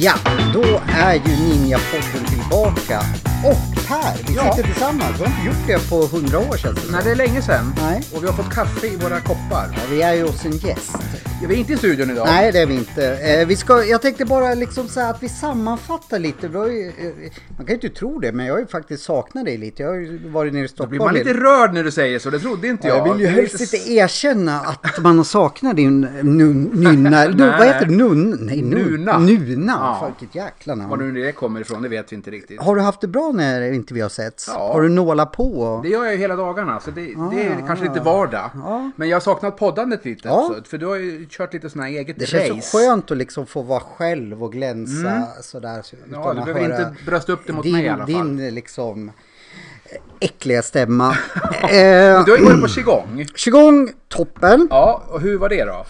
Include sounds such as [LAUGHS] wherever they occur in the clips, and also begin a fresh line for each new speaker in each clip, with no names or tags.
Ja, då är ju Ninja-podden tillbaka. Och Per, vi
Ja.
sitter tillsammans. Vi har inte gjort det på hundra år känns det som.
Nej, det är länge sedan.
Nej.
Och vi har fått kaffe i våra koppar.
Ja, Vi är ju hos en gäst.
Ja, Vi är inte i studion idag.
Nej, det är vi inte. Eh, vi ska, jag tänkte bara liksom säga att vi sammanfattar lite. Vi har ju, eh, man kan ju inte tro det, men jag har ju faktiskt saknat dig lite. Jag har ju varit nere i Stockholm.
Blir man lite
lite-
rörd när du säger så? Det trodde inte jag.
jag vill ju
Det är
helst
lite-
inte erkänna att man har saknat din nun, nunna, du, vad
[LAUGHS] Nej.
heter det? Nun, nej, nun,
Nuna.
Nuna.
Ja.
Fan, vilket jäkla namn.
Var nu det kommer ifrån, det vet vi inte riktigt.
Har du haft det bra när inte vi har setts?
Ja.
Har du nålat på? Och...
Det gör jag ju hela dagarna, så det, det är
Ah.
kanske lite vardag.
Ja.
Men jag har saknat poddandet lite
Ja.
också, för du har ju kört lite sån här eget
Det
race. Mm.
känns så skönt att liksom få vara själv och glänsa sådär. så- Utan
Ja, du
att
behöver
höra
inte brösta upp det mot
din,
mig i alla fall.
Din liksom äckliga
[LAUGHS]
stämma. eh,
Du har ju varit på qigong.
qigong, toppen.
Ja, och hur var det då?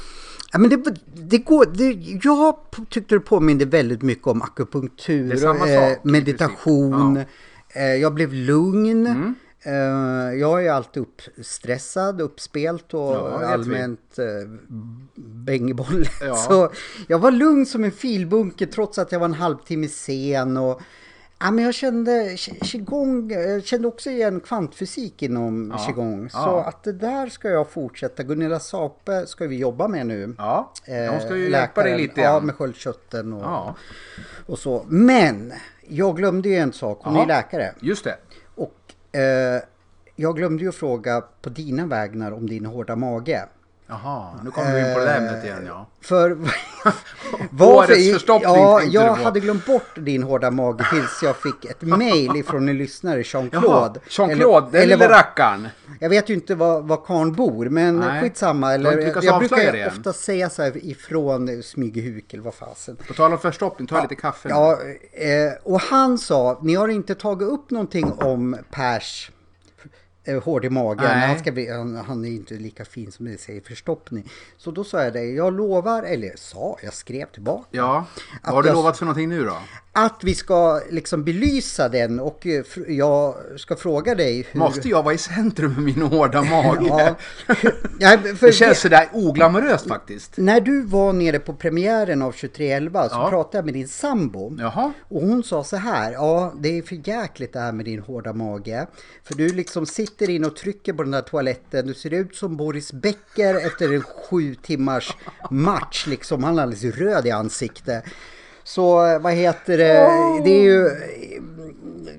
Ja, men det, det går, det, jag tyckte det påminde väldigt mycket om akupunktur,
Det är samma
eh,
sak, i
meditation. Eh, jag blev lugn.
Mm.
Eh, jag är alltid uppstressad, uppspelt och
Ja, det vet
allmänt eh, bängeboll. [LAUGHS]
Ja.
Så jag var lugn som en filbunke trots att jag var en halvtimme sen. Och, Ja, men jag kände qigong, eh, kände också igen kvantfysik inom
Ja.
qigong. Så
Ja.
att det där ska jag fortsätta. Gunilla Sape ska vi jobba med nu.
Ja, de ska ju
Eh,
hjälpa dig
läkaren.
lite
Ja,
grann.
med sköldkörteln och,
Ja,
och så. Men jag glömde ju en sak. Hon
Ja.
är ju läkare.
just det.
Och eh, jag glömde ju fråga på dina vägnar om din hårda mage.
Jaha, nu kommer du in på det där ämnet igen ja.
För [LAUGHS]
Årets förstoppning
Ja,
tänkte
jag
du på.
hade glömt bort din hårda mage tills jag fick
[LAUGHS]
ett mail ifrån en lyssnare,
Jaha,
Jean-Claude.
Jean-Claude, den lille
vad-
rackaren.
Jag vet ju inte var, var karln bor, men
Nej.
skitsamma.
Du
Eller,
har inte
jag
lyckats
jag
avslöja
brukar
det än.
ofta säga så här ifrån eh, Smygehuk eller vad fasen.
På tal om förstoppning, ta lite kaffe. nu.
Ja, eh, och han sa, ni har inte tagit upp någonting om Pers eh, hård i magen.
Nej.
Han, ska bli, han, han är ju inte lika fin som det säger förstoppning. Så då sa jag det, jag lovar, eller sa, jag skrev tillbaka.
Ja,
Att
vad har du
jag-
lovat för någonting nu då?
Att vi ska liksom belysa den och eh, fr- jag ska fråga dig hur...
Måste jag vara i centrum med min hårda mage?
Ja. Ja, för
Det känns sådär oglamoröst faktiskt.
När du var nere på premiären av 2311 så
Ja.
pratade jag med din sambo.
Jaha.
Och hon sa så här, ja det är för jäkligt det här med din hårda mage. För du liksom sitter in och trycker på den där toaletten, du ser ut som Boris Becker efter en sju timmars match liksom. Han är alldeles röd i ansiktet. Så eh, vad heter det, det är ju...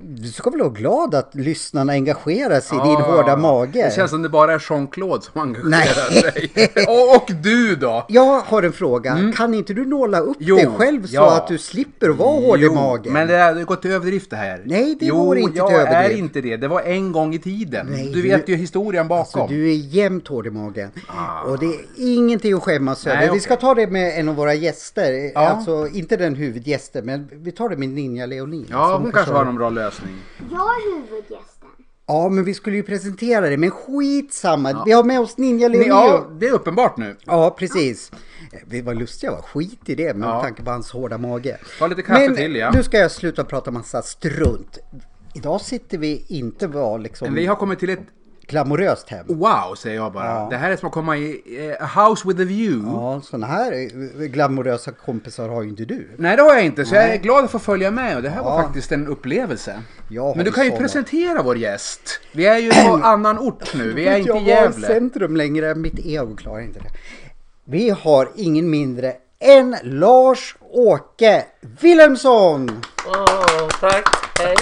Du ska väl vara glad att lyssnarna engagerar sig i din
Ja.
hårda mage?
Det känns som det bara är Jean-Claude som engagerar
Nej.
sig. [LAUGHS] Och, och du då?
Jag har en fråga. Kan inte du nåla upp
Mm. Jo,
dig själv så
ja.
att du slipper vara hård i magen?
men det har gått till överdrift det här.
Nej, det
jo,
går inte till
jag är
överdrift.
inte det. Det var en gång i tiden.
Nej,
du vet ju historien bakom.
Så Alltså, du är jämt hård i magen. Och det är ingenting att skämmas över.
Ah. Nej,
Vi
okej.
ska ta det med en av våra gäster.
Ja.
Alltså inte den huvudgästen, men vi tar det med Ninja Leonin.
Ja,
som
hon kanske
försörjer-
har någon bra lösning.
Jag är huvudgästen.
Ja, men vi skulle ju presentera det. Men skitsamma. Vi har med oss Ninja Leonin.
Ja,
Ja.
det är uppenbart nu.
precis. Det var lustiga var skit i det med
Ja.
tanke på hans hårda mage.
Ta lite kaffe
Men
till, ja.
nu ska jag sluta prata massa strunt. Idag sitter vi inte var liksom
Men vi har Mm. kommit till ett
glamoröst hem.
wow, säger jag bara. Det här är som att komma i eh, a house with a view.
Ja, sådana här eh, glamorösa kompisar har ju inte du.
Nej, det har jag inte, så jag är glad att få följa med och det här
Ja.
var faktiskt en upplevelse.
Jag har
Men du kan ju
såna.
presentera vår gäst. Vi är ju på annan ort nu, vi är inte i
jag var i
Gävle.
centrum längre, mitt ego klarar inte det. Vi har ingen mindre än Lars-Åke Wilhelmsson!
Åh, tack, hej.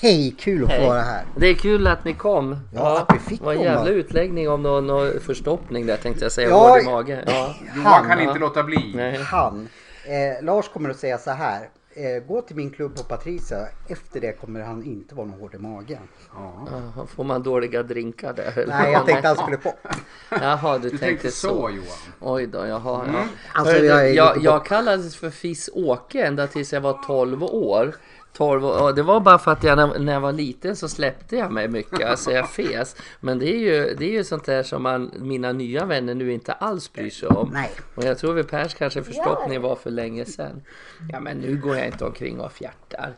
Hej, kul att få
Hej.
vara här.
Det är kul att ni kom.
att vi fick
det var en
komma.
jävla utläggning om någon, någon förstoppning där tänkte jag säga.
Ja,
Hård i magen. Ja.
Johan kan inte låta bli.
Nej.
Han. Eh, Lars kommer att säga så här. Eh, gå till min klubb på Patricia. Efter det kommer han inte vara någon hård i magen.
Jaha, Får man dåliga drinkar där? eller?
Nej, jag tänkte han skulle få.
Jaha, du,
Du tänkte så Johan. Mm.
Oj då, jaha. Ja.
Alltså,
Hörru,
jag är
jag,
lite
jag,
bort-
kallades för Fiss-Åke ända tills jag var 12 år. Torv och, och det var bara för att jag när, när jag var liten så släppte jag mig mycket,
[LAUGHS]
alltså jag fes. Men det är ju, det är ju sånt där som man, mina nya vänner nu inte alls bryr sig om.
Nej.
Och jag tror vi Pers kanske förstått ni var för länge sedan. Ja men nu går jag inte omkring och fjärtar.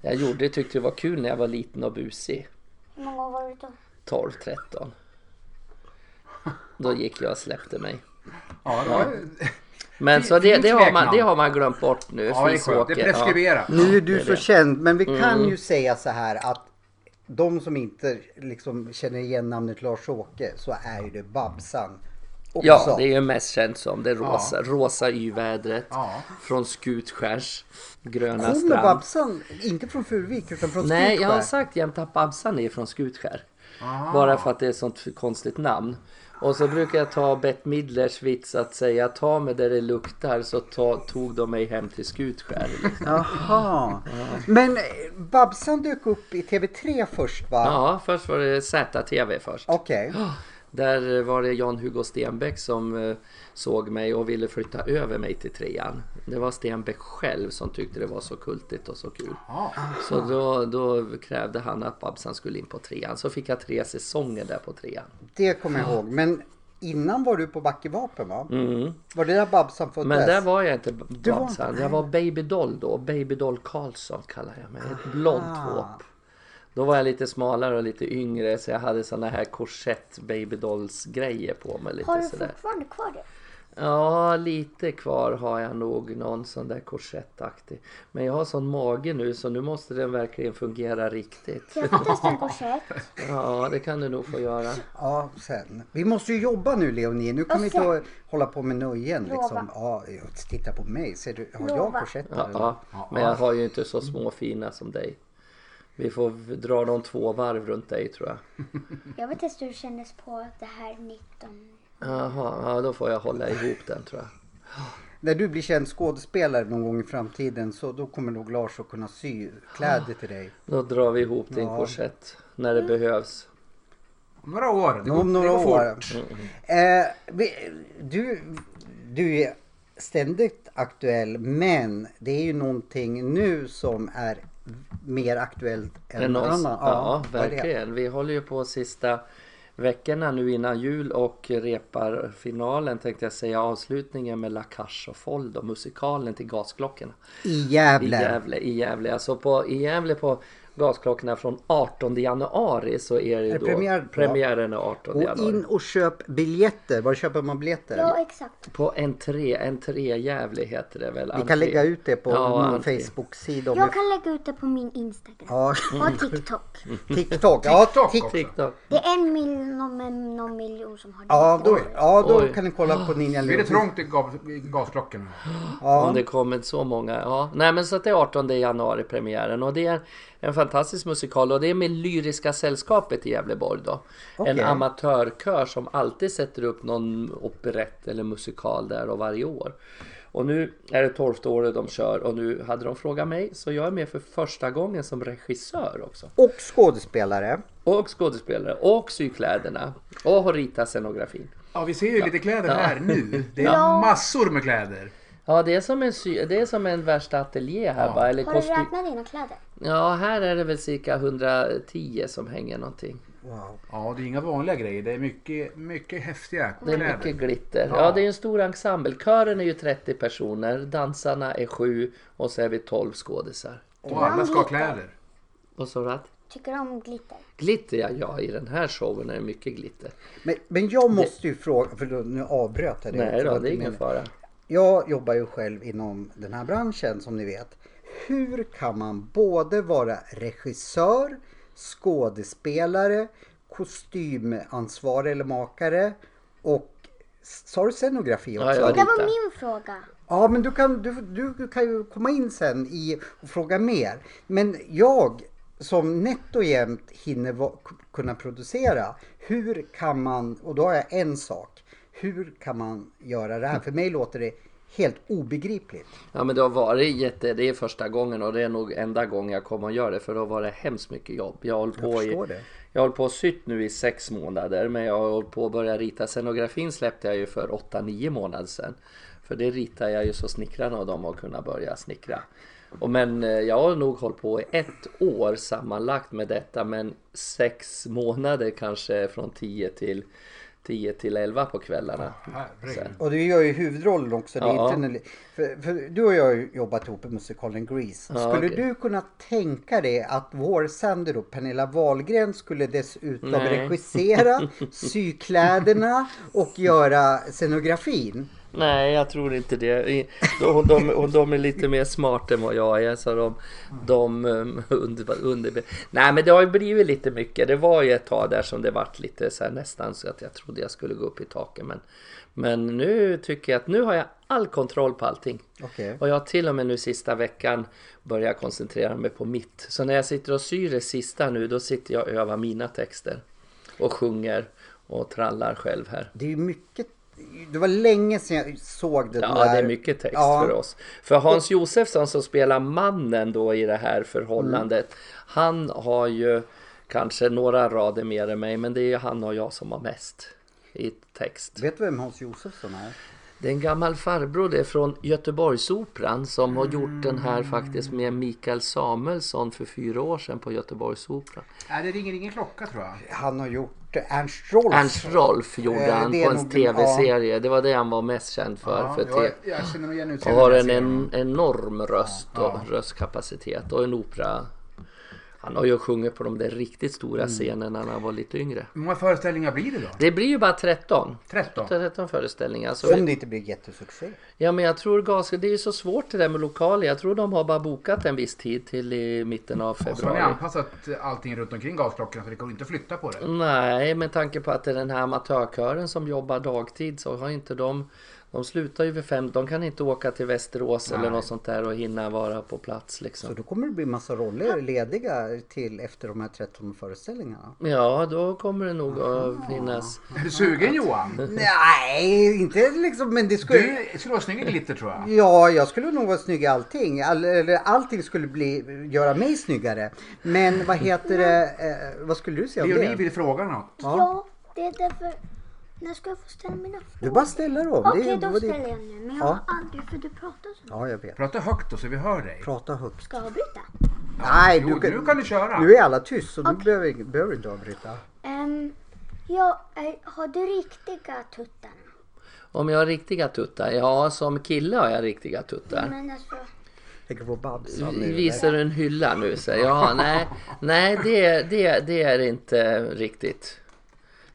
Jag gjorde, tyckte det var kul när jag var liten och busig.
Hur många år var du då?
12-13. Då gick jag och släppte mig.
Ja, ja.
Men
Fi-
så det,
fint
det, har man,
smeknamn.
det har man glömt bort nu.
ja det är skönt. Det är
Fisåker, ja.
preskriberat.
Nu är du så känd, men vi kan
Mm.
ju säga så här att de som inte liksom känner igen namnet Lars-Åke så är ju det Babsan också.
Ja, det är ju mest känt som det rosa, rosa yvädret
Ja.
från Skutskärs gröna
Kommer
strand.
Babsan, inte från Furuvik utan från
Nej, jag har
Skutskär?
sagt jämt att Babsan är från Skutskär. Bara för att det är ett sånt konstigt namn. Och så brukar jag ta Bett Midlers vits att säga ta mig där det luktar så ta, tog de mig hem till Skutskär. Liksom.
Jaha. Men eh, Babsan dök upp i TV3 först va?
Ja, först var det ZTV först.
Okej.
Där var det Jan-Hugo Stenbeck som eh, såg mig och ville flytta över mig till trean. Det var Stenbeck själv som tyckte det var så kultigt och så kul. Så då, då krävde han att Babsan skulle in på trean. Så fick jag tre säsonger där på trean.
Det kommer jag ihåg. Men innan var du på Backe Vapen va? Var det där Babsan föddes?
Mm. Men där var jag inte
var-
Babsan. Jag var Babydoll då. Babydoll Karlsson kallar jag mig. Ett blont hopp. Då var jag lite smalare och lite yngre så jag hade såna här korsett babydolls grejer på mig. Lite
Har du
sådär.
fortfarande kvar det?
Ja, lite kvar har jag nog. Någon sån där korsettaktig. Men jag har sån mage nu så nu måste den verkligen fungera riktigt.
Kan jag få testa en korsett?
Ja, det kan du nog få göra.
Ja, sen. Vi måste ju jobba nu Leonie. Nu kan vi
sen?
inte hålla på med nöjen.
Lova.
Liksom. Ja, titta på mig. Ser du, har jag
Lova.
korsetter?
Ja,
eller?
ja. Men jag har ju inte så små fina som dig. Vi får v- dra de två varv runt dig tror jag.
Jag vill testa hur det kändes på det här 19...
Jaha, ja, då får jag hålla ihop den tror jag.
När du blir känd skådespelare någon gång i framtiden så då kommer nog Lars att kunna sy kläder till dig.
Då drar vi ihop din
Ja.
korsett när det behövs.
Om några år. Det går,
Om några
det går
år.
fort.
Eh, vi- du, du är ständigt aktuell men det är ju någonting nu som är mer aktuellt än,
än
någon
oss.
annan.
Ja,
vad är det?
verkligen. Vi håller ju på sista veckorna nu innan jul och repar finalen tänkte jag säga avslutningen med La Cage och Fold och musikalen till Gasklockorna.
I
I
Gävle.
Gävle, i Gävle. Alltså på, i Gävle på Gasklockorna från 18 januari så är det ju
det
då
premiär då?
premiären är 18
Gå
januari.
in och köp biljetter. Var köper man biljetter?
Ja, exakt.
På entré, entré Gävle heter det väl?
Vi kan lägga ut det på
Ja,
någon
entré.
Facebook-sida. om vi-
Jag kan lägga ut det på min Instagram
Ja, [LAUGHS]
och TikTok.
TikTok. Ja,
TikTok
Tik-
också.
TikTok.
Det är en miljon, någon, någon miljon som har det.
Ja, då, ja, då
Oj.
kan ni kolla på Ninja
Blir det
Lund.
trångt i gas- i gasklockorna?
Om det kommer så många. Ja. Nej men så att det är 18 januari premiären och det är en fantastisk musikal och det är med Lyriska Sällskapet i Gävleborg då. En
Okej.
amatörkör som alltid sätter upp någon operett eller musikal där och varje år. Och nu är det 12 året de kör och nu hade de frågat mig så jag är med för första gången som regissör också.
Och skådespelare.
Och skådespelare och sy kläderna och har ritat scenografin.
Ja, vi ser ju lite kläder här nu. Det är
Ja.
massor med kläder.
Ja det är som en, sy- det är som en värsta ateljé här va? Eller
Har du
kostym-
räknat dina kläder?
Ja, här är det väl cirka 110 som hänger någonting.
Wow.
Ja, det är inga vanliga grejer. Det är mycket, mycket häftiga
Det är
kläder.
mycket glitter. Ja, det är en stor ensemble. Kören är ju 30 personer, dansarna är 7 och så är vi 12 skådisar.
Och alla ska ha kläder.
Vad sa du att?
Tycker du om glitter?
Glitter ja, ja, i den här showen är det mycket glitter.
Men, men jag måste ju fråga, för då- nu avbröt jag det.
Nej
Det var
då, det är
inte
ingen
meningen.
fara.
Jag jobbar ju själv inom den här branschen som ni vet. Hur kan man både vara regissör, skådespelare, kostymansvarig eller makare och Sa du scenografi också?
Ja, ja.
Det där
Rita.
var min fråga.
Ja, men du kan, du, du kan ju komma in sen i, och fråga mer. Men jag som nätt och jämt hinner va, kunna producera, hur kan man, och då har jag en sak, hur kan man göra det här? För mig låter det helt obegripligt.
Ja men det har varit jätte, det är första gången och det är nog enda gången jag kommer att göra det för det har varit hemskt mycket jobb. Jag har hållit
Jag
på i,
förstår det.
jag har hållit på och sytt nu i sex månader men jag har hållit på att börja rita scenografin släppte jag ju för 8-9 månader sedan. För det ritar jag ju så snickrarna och de har kunnat börja snickra. Och men eh, jag har nog hållit på i ett år sammanlagt med detta men sex månader kanske från 10 till 10 till 11 på kvällarna.
Herregud.
Och du gör ju huvudrollen också. Det är
Ja.
inte en, för, för du och jag har ju jobbat ihop i musikalen Grease.
Ja,
skulle
okej.
du kunna tänka dig att vår Sandy då, Pernilla Wahlgren, skulle dessutom
Nej. [LAUGHS]
regissera, sy kläderna och göra scenografin?
Nej, jag tror inte det. I- De, de, och de är lite mer smarta än vad jag är. Så de, de um, under, under... Nej, men det har ju blivit lite mycket. Det var ju ett tag där som det vart lite så här nästan så att jag trodde jag skulle gå upp i taket. Men, men nu tycker jag att nu har jag all kontroll på allting.
Okej.
Och jag har till och med nu sista veckan börjat koncentrera mig på mitt. Så när jag sitter och syr det sista nu, då sitter jag och övar mina texter. Och sjunger och trallar själv här.
Det är ju mycket. Det var länge sedan jag såg den
Ja,
där.
det är mycket text
Ja.
för oss. För Hans Josefsson som spelar mannen då i det här förhållandet, han har ju kanske några rader mer än mig, men det är ju han och jag som har mest i text.
Vet du vem Hans Josefsson är?
Det är en gammal farbror det är från Göteborgsoperan som har gjort den här faktiskt med Mikael Samuelsson för fyra år sedan på Göteborgsoperan.
Nej, det ringer ingen klocka tror jag.
Han har gjort Ernst Rolf.
Ernst
Alltså,
Rolf gjorde
Eh,
han
det är
på en
nog-
tv-serie, det var det han var mest känd för.
Ja,
för
jag,
te-
jag känner mig igen nu.
Och har en, en enorm röst och röstkapacitet och en opera. Han har ju sjungit på de där riktigt
Mm.
stora scenerna när han var lite yngre.
Hur många föreställningar blir det då?
Det blir ju bara 13.
13?
13 föreställningar. Så
Om
vi,
det inte blir jättesuccé.
ja men jag tror ganska, det är ju så svårt det där med lokaler. Jag tror de har bara bokat en viss tid till i mitten av
Och så har ni
februari.
anpassat allting runt omkring gasklockan så det går inte att flytta på
Mm.
det.
Nej, med tanke på att det är den här amatörkören som jobbar dagtid så har inte de de slutar ju vid fem, de kan inte åka till Västerås eller något sånt där och hinna vara på plats liksom.
Så då kommer det bli massa roller lediga till efter de här 13 föreställningarna.
Ja, då kommer det nog att finnas.
Är du sugen
Mm.
Johan?
Nej, inte liksom, men det skulle...
Du skulle vara snygg i glitter tror jag.
Ja, jag skulle nog vara snygg i allting. All, eller allting skulle bli, göra mig snyggare. Men vad heter det, eh, vad skulle du säga om
Leonie
det?
vill fråga något.
Ja.
Ja, det är därför... När ska jag få ställa mina
Du
frågor?
bara ställer dem.
Okej,
Det är-
då
vad det-
ställer jag nu. Men
Ja.
jag har aldrig... För du pratar så.
Ja, jag vet.
Prata högt då så vi hör dig.
Prata högt.
Ska jag avbryta?
Nej,
Jo,
du, kan-
nu kan du köra.
nu är alla tyst så du behöver, behöver inte avbryta.
Ehm, ja, eh, har du riktiga tuttar?
Om jag har riktiga tuttar? Ja, som kille har jag riktiga tuttar.
Men alltså,
Tänker på Babsan nu.
Visar du en hylla nu? Säger jag. Nej, nej det, det, det är inte riktigt.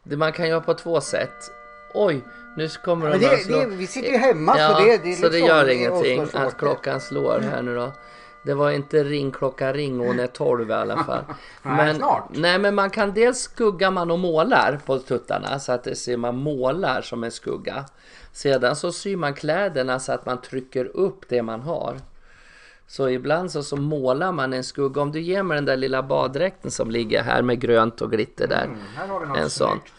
Det man kan göra på två sätt. Oj, nu kommer de
Men det-
här slå.
det- vi sitter ju hemma, så det- det är
så det
liksom-
gör
det är
ingenting
avslagsfrågor.
att klockan slår här nu då. Det var inte ring klocka ring, hon är 12 i alla fall.
[LAUGHS] Nej,
Men,
snart.
nej men man kan dels skugga man och målar på tuttarna så att det ser man målar som en skugga. Sedan så syr man kläderna så att man trycker upp det man har. Så ibland så, så målar man en skugga. Om du ger mig den där lilla baddräkten som ligger här med grönt och glitter där.
Mm, Här har vi något
En sån.
snyggt.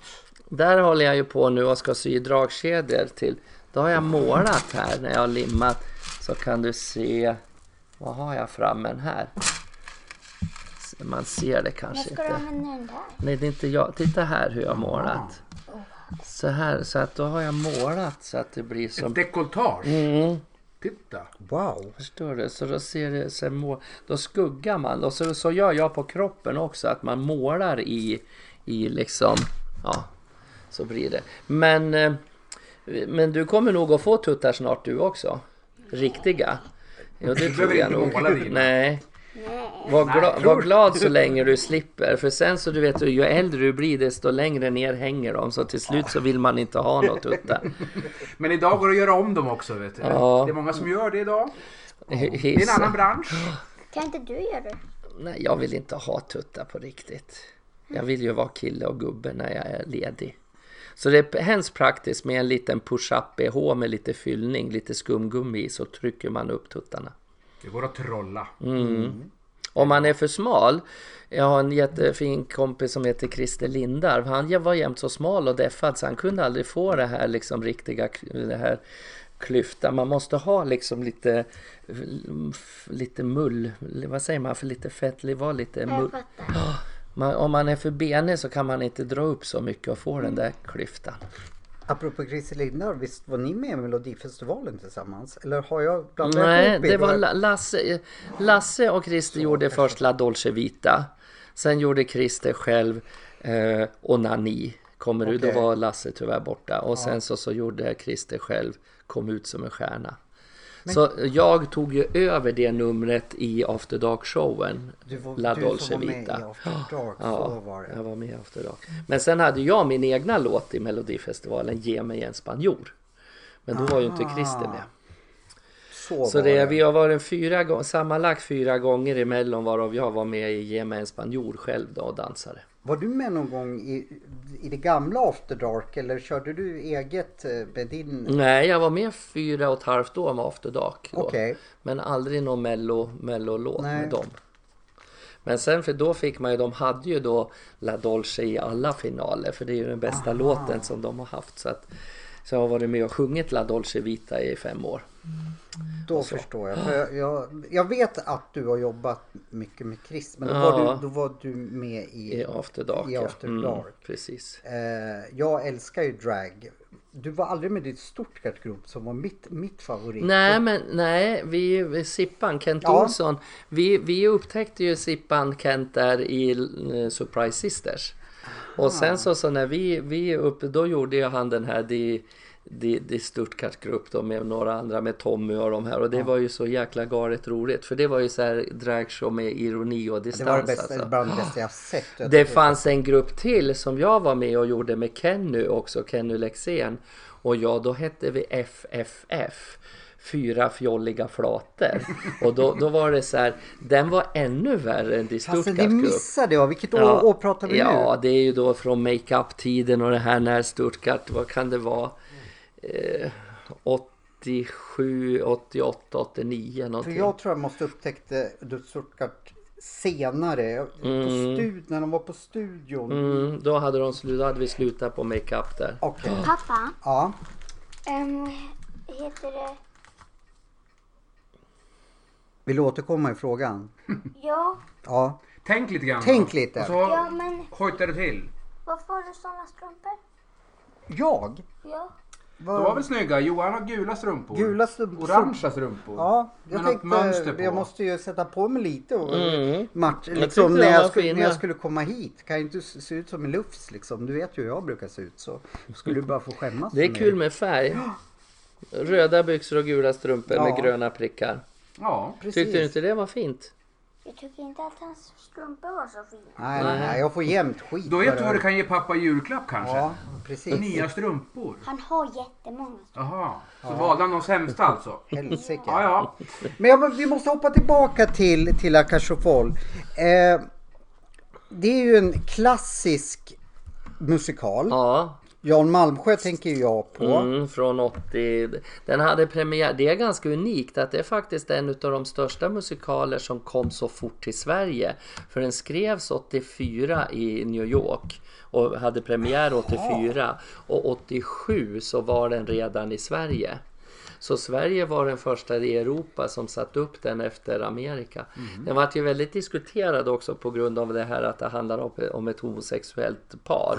Där håller jag ju på nu och ska sy dragkedjor till. Då har jag målat här när jag har limmat. Så kan du se. Vad har jag framme här? Man ser det
när
kanske
ska du
inte.
använda den där?
Nej, det är inte jag. Titta här hur jag har målat. Så här, så att då har jag målat så att det blir som...
Ett dekoltage.
Mm.
Titta.
Wow.
Förstår du? Så då ser det så här må, Då skuggar man. Och så, så gör jag på kroppen också att man målar i, i liksom... Ja, så blir det. Men, eh, men du kommer nog att få tuttar snart du också. Riktiga. Jo, det tror
behöver
jag
inte
nog.
måla dina.
Nej. Var, gla,
tror
var
du?
glad så länge du slipper. För sen så du vet, ju äldre du blir desto längre ner hänger de. Så till slut så vill man inte ha något tuttar.
Men idag går det att göra om dem också vet du.
Ja.
Det är många som gör det idag. Det är en
Hissa.
annan bransch.
Kan inte du göra det?
Nej, jag vill inte ha tuttar på riktigt. Jag vill ju vara kille och gubbe när jag är ledig. Så det är hemskt praktiskt med en liten push-up bh med lite fyllning, lite skumgummi i, så trycker man upp tuttarna.
Det går att trolla.
Mm.
Om man är för smal. Jag har en jättefin kompis som heter Christer Lindarv. Han var jämt så smal och deffad så han kunde aldrig få det här liksom riktiga det här klyftan. Man måste ha liksom lite, lite mull, vad säger man för lite fett, vara lite
Mm.
mull.
Jag fattar.
Man, om man är för benig så kan man inte dra upp så mycket och få den där klyftan.
Apropå Christer Lindar, visst var ni med i Melodifestivalen tillsammans? Eller har jag blandat
Nej,
ihop er
det
då?
var La- Lasse, Lasse och Christer gjorde först La Dolce Vita. Sen gjorde Christer själv eh, Onani. Kommer du? Då
Okej.
var Lasse tyvärr borta. Och sen så, så gjorde Christer själv Kom ut som en stjärna. Så jag tog ju över det numret i After Dark-showen.
Du var-
La
du som
Dolce
var med i
Vita.
After Dark, så var det.
Jag var med i After Dark. Men sen hade jag min egna låt i Melodifestivalen, Ge mig en spanjor. Men då var ju inte Christer med.
Så,
Så
var
det,
det.
vi har varit fyra gång, sammanlagt fyra gånger emellan varav jag var med i Ge mig en spanjor själv då och dansade.
Var du med någon gång i, i det gamla After Dark eller körde du eget eh, med din?
Nej, jag var med fyra och ett halvt år med After Dark. då.
Okej.
Men aldrig någon mello, mellolåt
Nej.
med dem. Men sen för då fick man ju, de hade ju då La Dolce i alla finaler för det är ju den bästa låten som de har haft. Så, att, så jag har varit med och sjungit La Dolce Vita i fem år.
Då
Alltså.
förstår jag. För jag, jag. Jag vet att du har jobbat mycket med Chris men då,
Ja.
var, du, då var du med i...
I After Dark.
I
ja. Mm,
After Dark.
precis.
Eh, jag älskar ju drag. Du var aldrig med i ett stort grupp som var mitt, mitt favorit.
Nej, men nej, vi, vi- Sippan, Kent
Ja.
Olsson. Vi, vi upptäckte ju Sippan, Kent där i eh, Surprise Sisters.
Ah.
Och sen så, så när vi, vi upp, då gjorde ju han den här di, di, di Stuttgart grupp då med några andra med Tommy och de här och det var ju så jäkla galet roligt för det var ju så här dragshow med ironi och
Det
distans
var det bästa,
alltså.
bland det bästa jag har sett. Jag
Det
tror-
fanns en grupp till som jag var med och gjorde med Kenny också, Kenny Lexén. Och ja, då hette vi FFF. Fyra fjolliga flator. Och då, då var det så här, den var ännu värre än The
Alltså
Stuttgart
det
Group.
missade jag. Vilket år, år pratar vi
Ja,
nu?
det är ju då från makeup-tiden och det här när Stuttgart, vad kan det vara? Eh, 87, 88, 89
För
någonting.
jag tror jag måste upptäckte The Stuttgart senare. På stud, när de var på studion.
Mm, då, hade de slut, då hade vi slutat på makeup där.
Okej.
Pappa,
Ja.
um, heter det...
Vill du återkomma i frågan?
Ja,
Ja.
Tänk lite grann.
Tänk lite.
Och
ja
så
men
hojtar det till.
varför har du såna strumpor?
Jag?
Ja.
Var...
De var väl snygga? Johan har gula strumpor.
Gula strumpor.
Orangea strumpor.
Ja,
Med
jag
något mönster
tänkte
på.
jag måste ju sätta på mig lite och match,
Mm. tyckte
liksom,
de
när, jag
var
skulle, när
fina.
jag skulle komma hit. Kan jag inte s- se ut som en lufs liksom. Du vet ju hur jag brukar se ut så skulle du bara få skämmas
Det
för
är
mig.
kul med färg. Röda byxor och gula strumpor
Ja.
med gröna prickar.
Ja.
Precis.
Tyckte du inte det var fint?
Jag tycker inte att hans strumpor var så fina.
Nej, nej, nej, jag får jämt skit.
Då vet du
för
vad du
det.
kan ge pappa i julklapp kanske?
Ja, precis.
Nya strumpor.
Han har jättemånga.
Jaha. Så valde han de sämsta alltså?
Helsike.
Ja, ja.
Men jag, vi måste hoppa tillbaka till, till Akashofol. Eh, det är ju en klassisk musikal.
Ja,
Jan Malmsjö tänker jag på.
mm, från 80. Den hade premiär. Det är ganska unikt att det är faktiskt en av de största musikaler som kom så fort till Sverige. För den skrevs 84 i New York och hade premiär 84 och 87 så var den redan i Sverige. Så Sverige var den första i Europa som satte upp den efter Amerika. Den var ju väldigt diskuterad också på grund av det här att det handlar om, om ett homosexuellt par.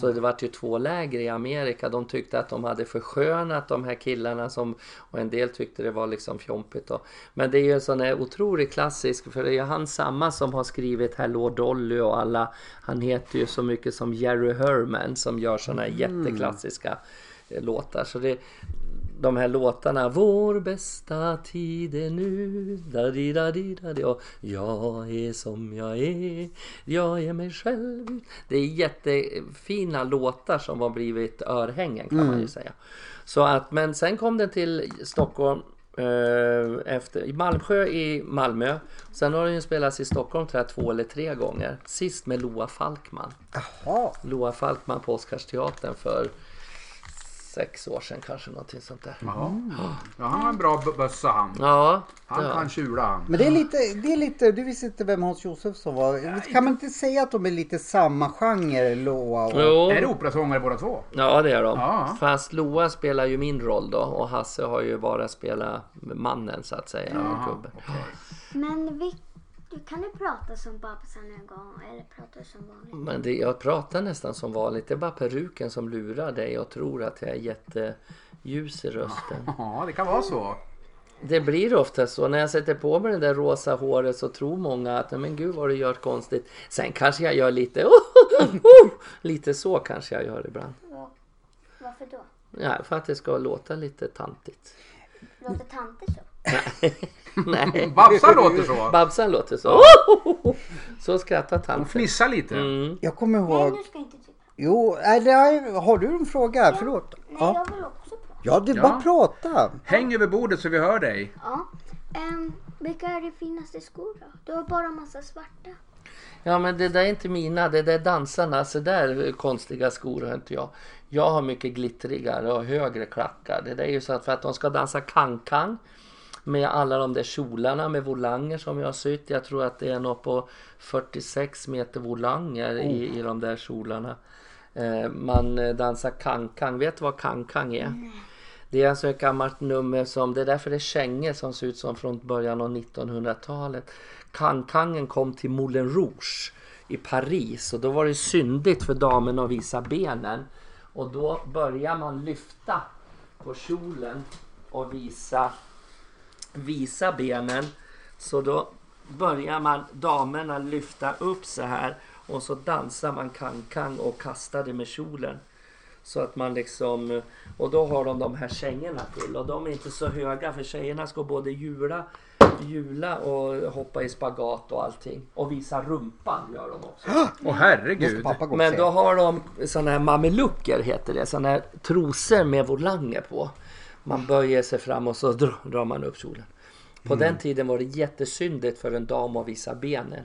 Så det var ju två läger i Amerika. De tyckte att de hade förskönat de här killarna som, och en del tyckte det var liksom fjompigt. Då. Men det är ju en sån här otroligt klassisk, för det är ju han samma som har skrivit Hello Dolly och alla, han heter ju så mycket som Jerry Herman som gör såna här jätteklassiska eh, låtar. Så det, de här låtarna Vår bästa tid är nu da di da di da di och Jag är som jag är Jag är mig själv Det är jättefina låtar som har blivit örhängen kan man ju säga. Så att, men sen kom den till Stockholm eh, efter, i Malmsjö i Malmö. Sen har den ju spelats i Stockholm tror jag två eller tre gånger. Sist med Loa Falkman.
Ja.
Loa Falkman på Oscarsteatern för sex år sedan kanske någonting sånt där.
Ja. ja han har en bra b- bössa han.
Ja,
Han
ja.
kan tjula han.
Men det är lite, det är lite, du visste inte vem Hans Josefsson var. Kan man inte säga att de är lite samma genre, Loa och...
Mm.
Är det
Jo,
operasångare båda två?
ja det är de.
Ja.
Fast Loa spelar ju min roll då och Hasse har ju bara spelat mannen så att säga. och gubben.
Men vil- Du kan ju prata som Babsan en gång eller prata som vanligt.
Men det, jag pratar nästan som vanligt. Det är bara peruken som lurar dig och tror att jag är jätteljus i rösten.
[LAUGHS] Ja, det kan vara så.
Det blir ofta så. När jag sätter på mig det där rosa håret så tror många att men gud vad du gör konstigt. Sen kanske jag gör lite "Oh,
[LAUGHS]
Lite så kanske jag gör ibland.
Var, varför då?
Ja, för att det ska låta
[LAUGHS]
lite tantigt.
Låter tanter så?
Nej.
Babsan låter så.
Babsan låter så. [LAUGHS] Så skrattar
Hon
tanten.
fnissar lite.
Mm.
Jag kommer
Nej,
ihåg...
nu ska inte du.
Jo, nej, nej, har du en fråga? Förlåt.
Nej,
Ja,
jag vill också prata.
ja du
Ja.
bara prata.
Häng över bordet så vi hör dig.
Ja. Ehm, vilka är de finaste skor då? Du har bara massa svarta.
Ja men det där är inte mina, det där är dansarna. Så där eh, konstiga skor har inte jag. Jag har mycket glittrigare och högre klackar. Det där är ju så att för att de ska dansa kankan med alla de där kjolarna med volanger som jag har sytt. Jag tror att det är något på 46 meter volanger i, i de där kjolarna. Eh, man eh, dansar kankan. Vet du vad kankan är? Det är alltså ett gammalt nummer som, det är därför det är kängor som ser ut som från början av 1900-talet. Cancangen kom till Moulin Rouge i Paris och då var det syndigt för damerna att visa benen. Och då börjar man lyfta på kjolen och visa, visa benen. Så då börjar man damerna lyfta upp så här och så dansar man cancan och kastar det med kjolen. Så att man liksom, och då har de de här kängorna till och de är inte så höga för tjejerna ska både jula, jula och hoppa i spagat och allting. Och visa rumpan gör de också.
Åh
Måste
herregud.
pappa gå och
Men
se.
då har de sådana här mamelucker heter det, sådana här trosor med volanger på. Man böjer sig fram och så dr- drar man upp kjolen. På den tiden var det jättesyndigt för en dam att visa benen.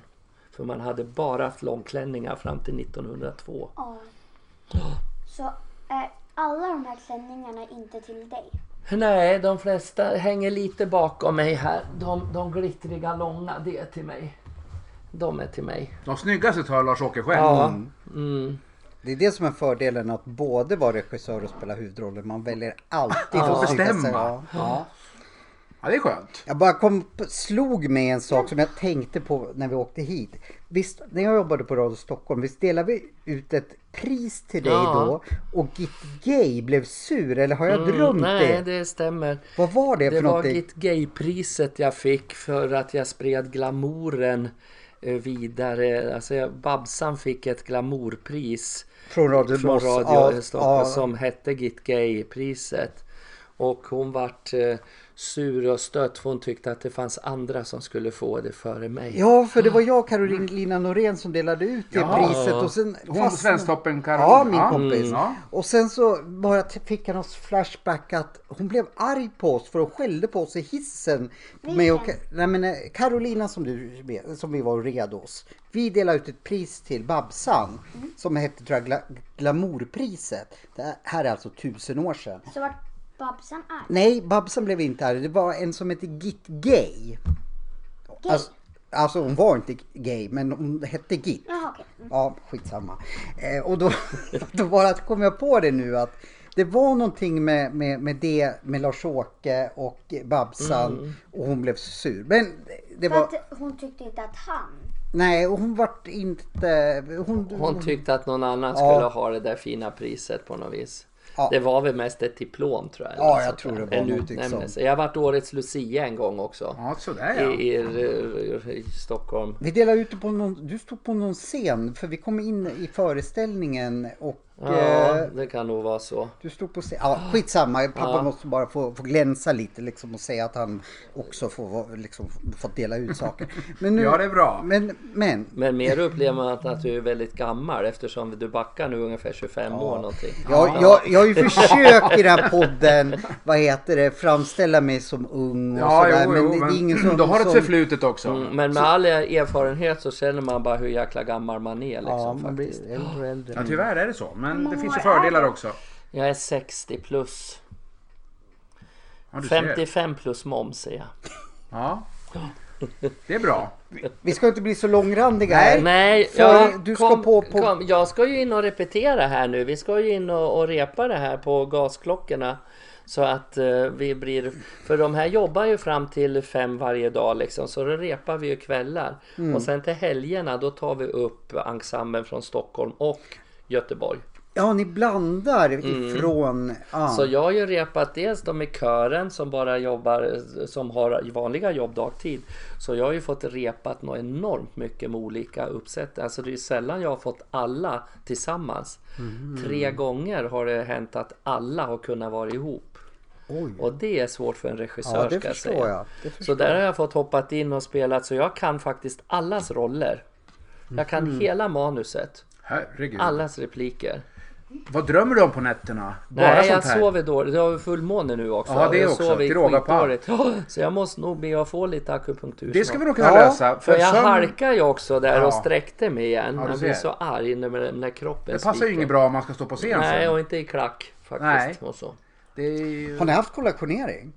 För man hade bara haft långklänningar fram till 1902.
Ja. Så är alla de här klänningarna inte till dig?
Nej, de flesta hänger lite bakom mig här. De, de glittriga långa, det är till mig. De är till mig.
De snyggaste tar Lars-Åke själv.
Ja. Mm.
Det är det som är fördelen att både vara regissör och spela huvudrollen. Man väljer alltid
Ja.
att snygga sig.
Bestämma.
Ja.
Ja, det är skönt.
Jag bara kom, slog mig en sak som jag tänkte på när vi åkte hit. Visst, när jag jobbade på Radio Stockholm, visst delade vi ut ett pris till dig
Ja. Mm,
då? Och Git Gay blev sur, eller har jag drömt
Nej,
det?
det stämmer.
Vad var det,
Det
för
var
någonting?
Git Gay-priset jag fick för att jag spred glamouren eh, vidare. Alltså jag, Babsan fick ett glamourpris
Från Radio,
från
Nos-
Radio
ja,
Stockholm
ja.
som hette Git Gay-priset. Och hon vart eh, sur och stött för hon tyckte att det fanns andra som skulle få det före mig.
Ja, för det var jag och Carolina Norén som delade ut det
Ja.
priset och sen
Hon på Svensktoppen, Karolina.
Ja, min kompis.
Ja.
Och sen så bara t- fick jag någon flashback att hon blev arg på oss för hon skällde på oss i hissen. Med och, nej men eh, Carolina som, du, som vi var och red hos. Vi delade ut ett pris till Babsan som hette tror jag, gla, Glamourpriset. Det här är alltså tusen år sedan.
Så vart Babsan är?
Nej, Babsan blev inte arg. Det var en som hette Git Gay. Alltså, alltså hon var inte gay men hon hette Git.
Jaha okej. Mm.
Ja, skitsamma. Eh, och då, [LAUGHS] då bara kom jag på det nu att det var någonting med, med, med det med Lars-Åke och Babsan och hon blev sur. Men det
För
var...
att hon tyckte inte att han...
Nej, och hon vart inte... Hon,
Hon tyckte att någon annan skulle ha det där fina priset på något vis.
Ja.
Det var väl mest ett diplom tror jag.
Ja,
eller något
jag
sånt
tror
där.
det var
En
någonting sånt.
utnämnelse. Jag har varit årets Lucia en gång också.
Ja, sådär
I,
Mm.
ja.
i, i, i Stockholm.
Vi delade ut det på någon... Du stod på någon scen för vi kom in i föreställningen och...
Ja,
Eh,
det kan nog vara så.
du stod på scen. Ja, skitsamma. Pappa
Ja.
måste bara få, få glänsa lite liksom och säga att han också får vara- liksom, fått dela ut saker. Men nu,
Ja, det är bra.
Men, men
Men mer upplever man att, att du är väldigt gammal eftersom du backar nu ungefär 25 år någonting.
Jag, jag, jag har ju försökt i den här podden, vad heter det, framställa mig som ung och
Ja,
sådär.
jo,
men
jo,
det, det är
[CLEARS THROAT]
ingen som...
Du har ett
som-
förflutet också.
Mm, Men med all erfarenhet så känner man bara hur jäkla gammal man är liksom
Ja, man
faktiskt.
blir äldre och äldre.
Ja, tyvärr är det så. Men det
många
finns ju
år är
fördelar
det?
också.
Jag är 60 plus.
Ja, du ser.
55 plus moms är jag. [LAUGHS]
Ja. Det är bra.
Vi ska inte bli så långrandiga
Nej.
här.
Nej,
För du ska
kom,
på- på-
Kom. Jag ska ju in och repetera här nu. Vi ska ju in och, och repa det här på gasklockorna. Så att eh, vi blir... För de här jobbar ju fram till fem varje dag liksom. Så då repar vi ju kvällar.
Mm.
Och sen till helgerna då tar vi upp ensemblen från Stockholm och Göteborg.
Ja, ni blandar ifrån... Ja.
Mm. Så jag har ju repat dels de i kören som bara jobbar, som har vanliga jobb dagtid. Så jag har ju fått repat något enormt mycket med olika uppsätt. Alltså det är ju sällan jag har fått alla tillsammans.
Mm.
Tre gånger har det hänt att alla har kunnat vara ihop.
Oj.
Och det är svårt för en regissör
Ja, det
ska jag
förstår
säga.
jag. Det
Så där har jag fått hoppat in och spelat så jag kan faktiskt allas roller. Jag kan
Mm.
hela manuset,
Herregud.
allas repliker.
Vad drömmer du om på nätterna? Bara
Nej, jag
sånt här?
sover dåligt. Det har fullmåne nu också.
Ja, det
jag
också.
sover
Till råga på allt.
skitdåligt. Ja, Så jag måste nog be att få lite akupunktur
Det ska vi
snart.
nog kunna
Ja,
lösa.
För jag
sömn-
halkar ju också där
Ja.
och sträckte mig igen.
du
jag
ser.
blir så arg när, när kroppen
Det passar ju inget bra om man ska stå på scen
Nej,
sen.
och inte i klack
Nej.
faktiskt. Och så.
Det är ju...
Har ni haft kollationering?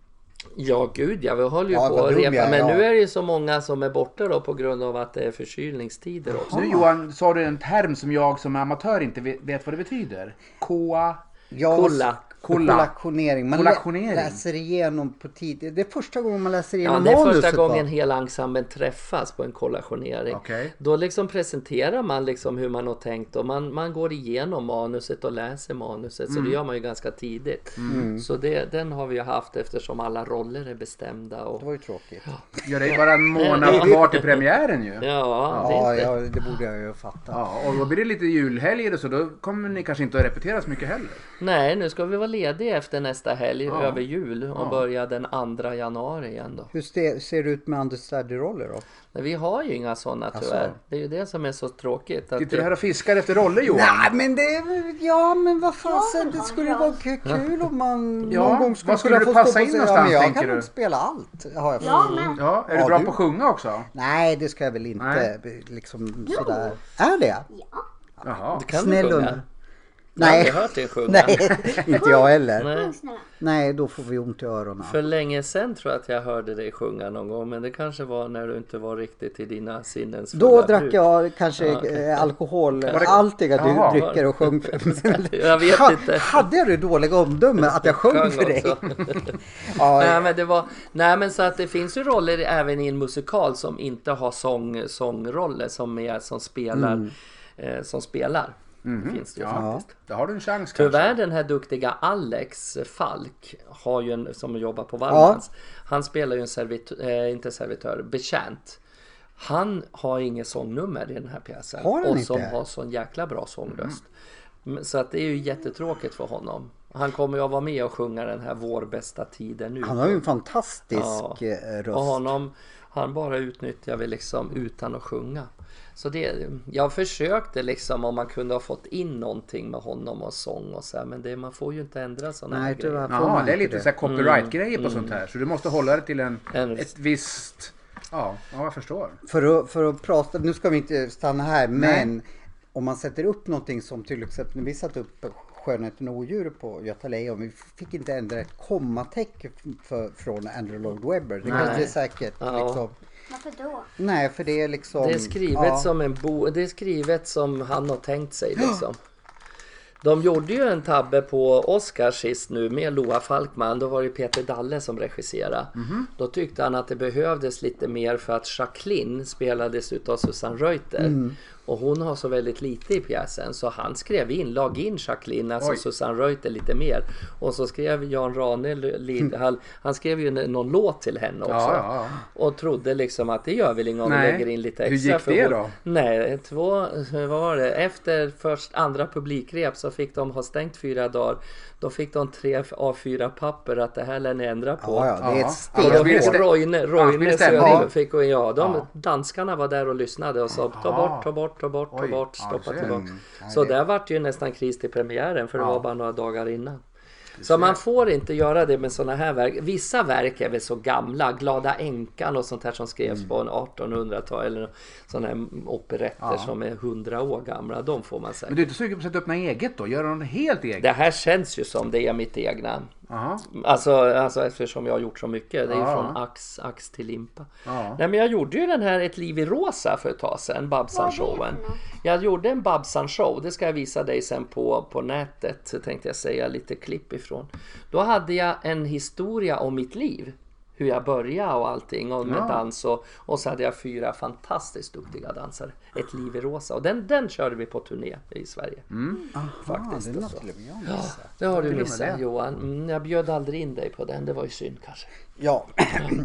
Ja, gud ja. Vi håller ju
Ja,
på
vad
att
dum
repa.
jag är,
Men
ja.
nu är det ju så många som är borta då på grund av att det är förkylningstider också.
Nu Johan, sa du en term som jag som amatör inte vet vet vad det betyder. Koa...
Jag
Kolla.
Kolla.
Kollationering. Man lä-
Kollationering.
läser igenom på tid. Det är första gången man läser
Ja,
igenom
det är
manuset
första gången
va?
hela ensemblen träffas på en kollationering.
Okej.
Då liksom presenterar man liksom hur man har tänkt och man, man går igenom manuset och läser manuset.
Mm.
Så det gör man ju ganska tidigt. Så det, den har vi ju haft eftersom alla roller är bestämda. Och,
Det var ju tråkigt. Ja,
Ja, det är bara en månad kvar till premiären ju.
ja, det är
ja,
inte...
det borde jag ju fatta.
Ja, och då blir det lite julhelger och så. Då kommer ni kanske inte att repetera så mycket heller.
Nej, nu ska vi vara lediga efter nästa helg över jul och börja den 2 januari igen då.
Hur ste- ser det ut med understudy-roller då?
Men vi har ju inga sådana
Alltså.
tyvärr. Det är ju det som är så tråkigt.
Typ
Att
Sitter
det-
du här och fiskar efter roller Johan?
Nej men det, ja men vad fasen
Ja,
det skulle ju vara k- kul om man
Ja,
någon gång skulle,
vad
kunna
skulle du
få
passa
stå på
in
scen.
någonstans,
ja, men
tänker
Jag kan
du?
nog spela allt har jag
Jag
för mig.
med.
Ja, är du
Ja,
bra
du-
på att sjunga också?
Nej det ska jag väl inte liksom sådär. Är det?
Ja.
Jaha.
Kan du
Snäll
sjunga?
under.
Jag har
Nej,
aldrig hört dig sjunga.
nej [LAUGHS] inte jag heller.
Nej.
Sjung snälla.
Nej då får vi ont i öronen.
För länge sen tror jag att jag hörde dig sjunga någon gång men det kanske var när du inte var riktigt i dina sinnens
Då
fulla
drack
bruk.
jag kanske
Ja, okej.
eh, alkoholhaltiga
Jaha, var
dy-
det-
drycker och sjöng för mig.
Jag vet
Ha-
inte.
Hade jag det dåliga omdöme att jag sjöng för dig?
också.
[LAUGHS] Ja,
nej, men det var, nej men så att det finns ju roller även i en musikal som inte har sång, sångroller som, är, som spelar.
Mm.
Eh, som spelar. Finns det ju
Ja,
faktiskt.
då har du en chans kanske.
Tyvärr den här duktiga Alex Falk har ju en, som jobbar på Wallmans. Han spelar ju en servitör, eh, inte servitör, betjänt. Han har inget sångnummer i den här pjäsen.
Har han
och
inte?
som har sån jäkla bra sångröst. Men- Så att det är ju jättetråkigt för honom. Han kommer ju att vara med och sjunga den här Vår bästa tid är nu.
han har ju en fantastisk eh,
Och
röst.
honom, han bara utnyttjar vi liksom utan att sjunga. Så det, jag försökte liksom om man kunde ha fått in någonting med honom och sång och så här, men det, man får ju inte ändra sådana här
Nej
grejer.
tyvärr får
Ja,
man
det är
inte
lite så här copyright-grejer på sånt här. Så du måste hålla det till en,
Mm. En-
ett visst... Ja, ja, jag förstår.
För att, för att prata, nu ska vi inte stanna här, men om man sätter upp någonting som till exempel när vi satte upp Skönheten och odjuret på Göta Lejon. Vi fick inte ändra ett kommatecken för, från Andrew Lloyd Webber. Det kanske är säkert.
Ja.
Liksom.
Varför då?
Nej, för det är liksom...
Det är skrivet
ja.
som en bo, det är skrivet som han har tänkt sig liksom. De gjorde ju en tabbe på Oscar sist nu med Loa Falkman. Då var det Peter Dalle som regisserade.
Mhm.
Då tyckte han att det behövdes lite mer för att Jacqueline spelades utav Susanne Reuter.
Mm.
Och hon har så väldigt lite i pjäsen så han skrev in, lag in Jacqueline, alltså
Oj.
Susanne Reuter lite mer. Och så skrev Jan Rane, Lid, han, han skrev ju en- någon låt till henne också.
Mm. Ja, ja, ja.
Och trodde liksom att det gör väl inget om vi
Nej.
lägger in lite
Hur
extra.
gick
för
det
hon-
då?
Nej, två, vad var det? Efter först andra publikrep så fick de ha stängt fyra dagar. Då fick de tre A4 papper att det här lär ni ändra på.
Ja, ja, det är ett
Ja.
sten.
Annars blir det
Och
stä-
Roine,
annars blir det
Roine
stämning.
Söderlund fick och ja, de
Ja.
danskarna var där och lyssnade och sa ta bort, ta bort, ta bort, ta
Oj,
bort,
ja,
stoppa
det-
tillbaka.
mm.
Så där vart det ju nästan kris till premiären för det var bara några dagar innan. Så man får inte göra det med sådana här verk. Vissa verk är väl så gamla, Glada änkan och sånt här som skrevs
Mm.
på en 1800-tal eller sådana här operetter som är 100 år gamla. De får man säga.
Men du är inte sugen på att sätta upp något eget då? Göra något helt eget?
Det här känns ju som det är mitt egna.
Jaha.
Alltså, alltså eftersom jag har gjort så mycket. Det är ju
Ja.
från ax, ax till limpa.
Ja.
Nej men jag gjorde ju den här Ett liv i rosa för ett tag sedan, Babsan-showen.
Vad är det för något?
Jag gjorde en Babsan-show, det ska jag visa dig sen på, på nätet tänkte jag säga lite klipp ifrån. Då hade jag en historia om mitt liv. Hur jag började och allting och med
Ja.
dans och, och så hade jag fyra fantastiskt duktiga dansare. Ett liv i rosa och den, den körde vi på turné i Sverige.
Mm.
Faktiskt. Det låter
Ja, det har du
med
missat
det.
Johan. Mm, jag bjöd aldrig in dig på den, det var ju synd kanske.
Ja,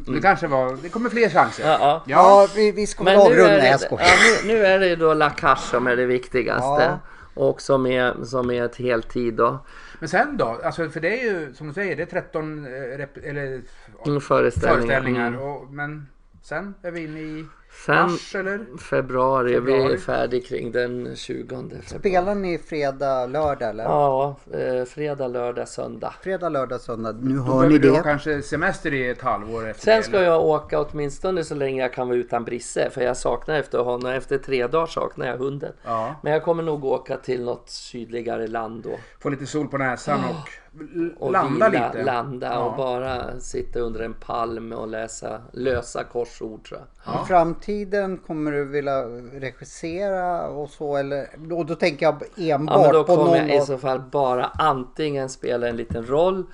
Det kanske var... Det kommer fler chanser.
Mm. Ja, ja.
ja vi, vi ska väl avrunda.
är
Nej, jag
det, ja,
skojar.
nu, nu är det ju då La Cache som är det viktigaste.
Ja.
Och som är, som är ett heltid då.
Men sen då? Alltså, för det är ju som du säger, det är 13 eh, rep, eller,
Mm, Föreställningar.
föreställningar.
Mm.
Och, men sen är vi inne i
Sen
mars eller?
februari, vi är
Februari.
färdig kring den 20 februari.
Spelar ni fredag, lördag eller?
Ja, eh, fredag, lördag, söndag.
Fredag, lördag, söndag. Nu hör ni
Behöver du ha
det.
kanske semester i ett halvår efter
Sen
det,
ska jag åka åtminstone så länge jag kan vara utan Brisse. För jag saknar efter honom. Efter tre dagar saknar jag hunden.
Ja.
Men jag kommer nog åka till något sydligare land då.
Få lite sol på näsan och, l-
och
landa
vila,
lite.
landa och
Ja.
bara sitta under en palm och läsa lösa korsord tror jag.
I framtiden kommer du vilja regissera och så eller? Och då tänker jag
Ja, men
enbart
då
på någon
kommer jag i
av...
så fall bara antingen spela en liten roll,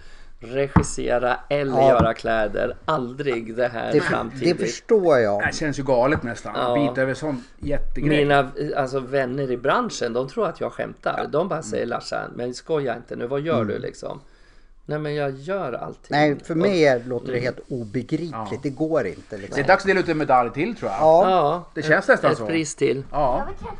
regissera eller
Ja.
göra kläder. Aldrig det här
Det, det
samtidigt.
förstår jag.
Det känns ju galet nästan. Att
Ja.
bita över sån jättegrej.
Mina eh, alltså, vänner i branschen, de tror att jag skämtar. De bara säger
Mm.
Larsan, men skoja inte nu, vad gör du liksom? Nej men jag gör allting.
Nej, för
Och-
mig är, låter det helt obegripligt. Det går inte
Mm. Det
liksom.
är dags att dela ut en medalj till tror jag.
Ja,
Ja,
Det känns nästan
ett
så.
pris till.
Jag
Ja.
vill kanske testa korsett.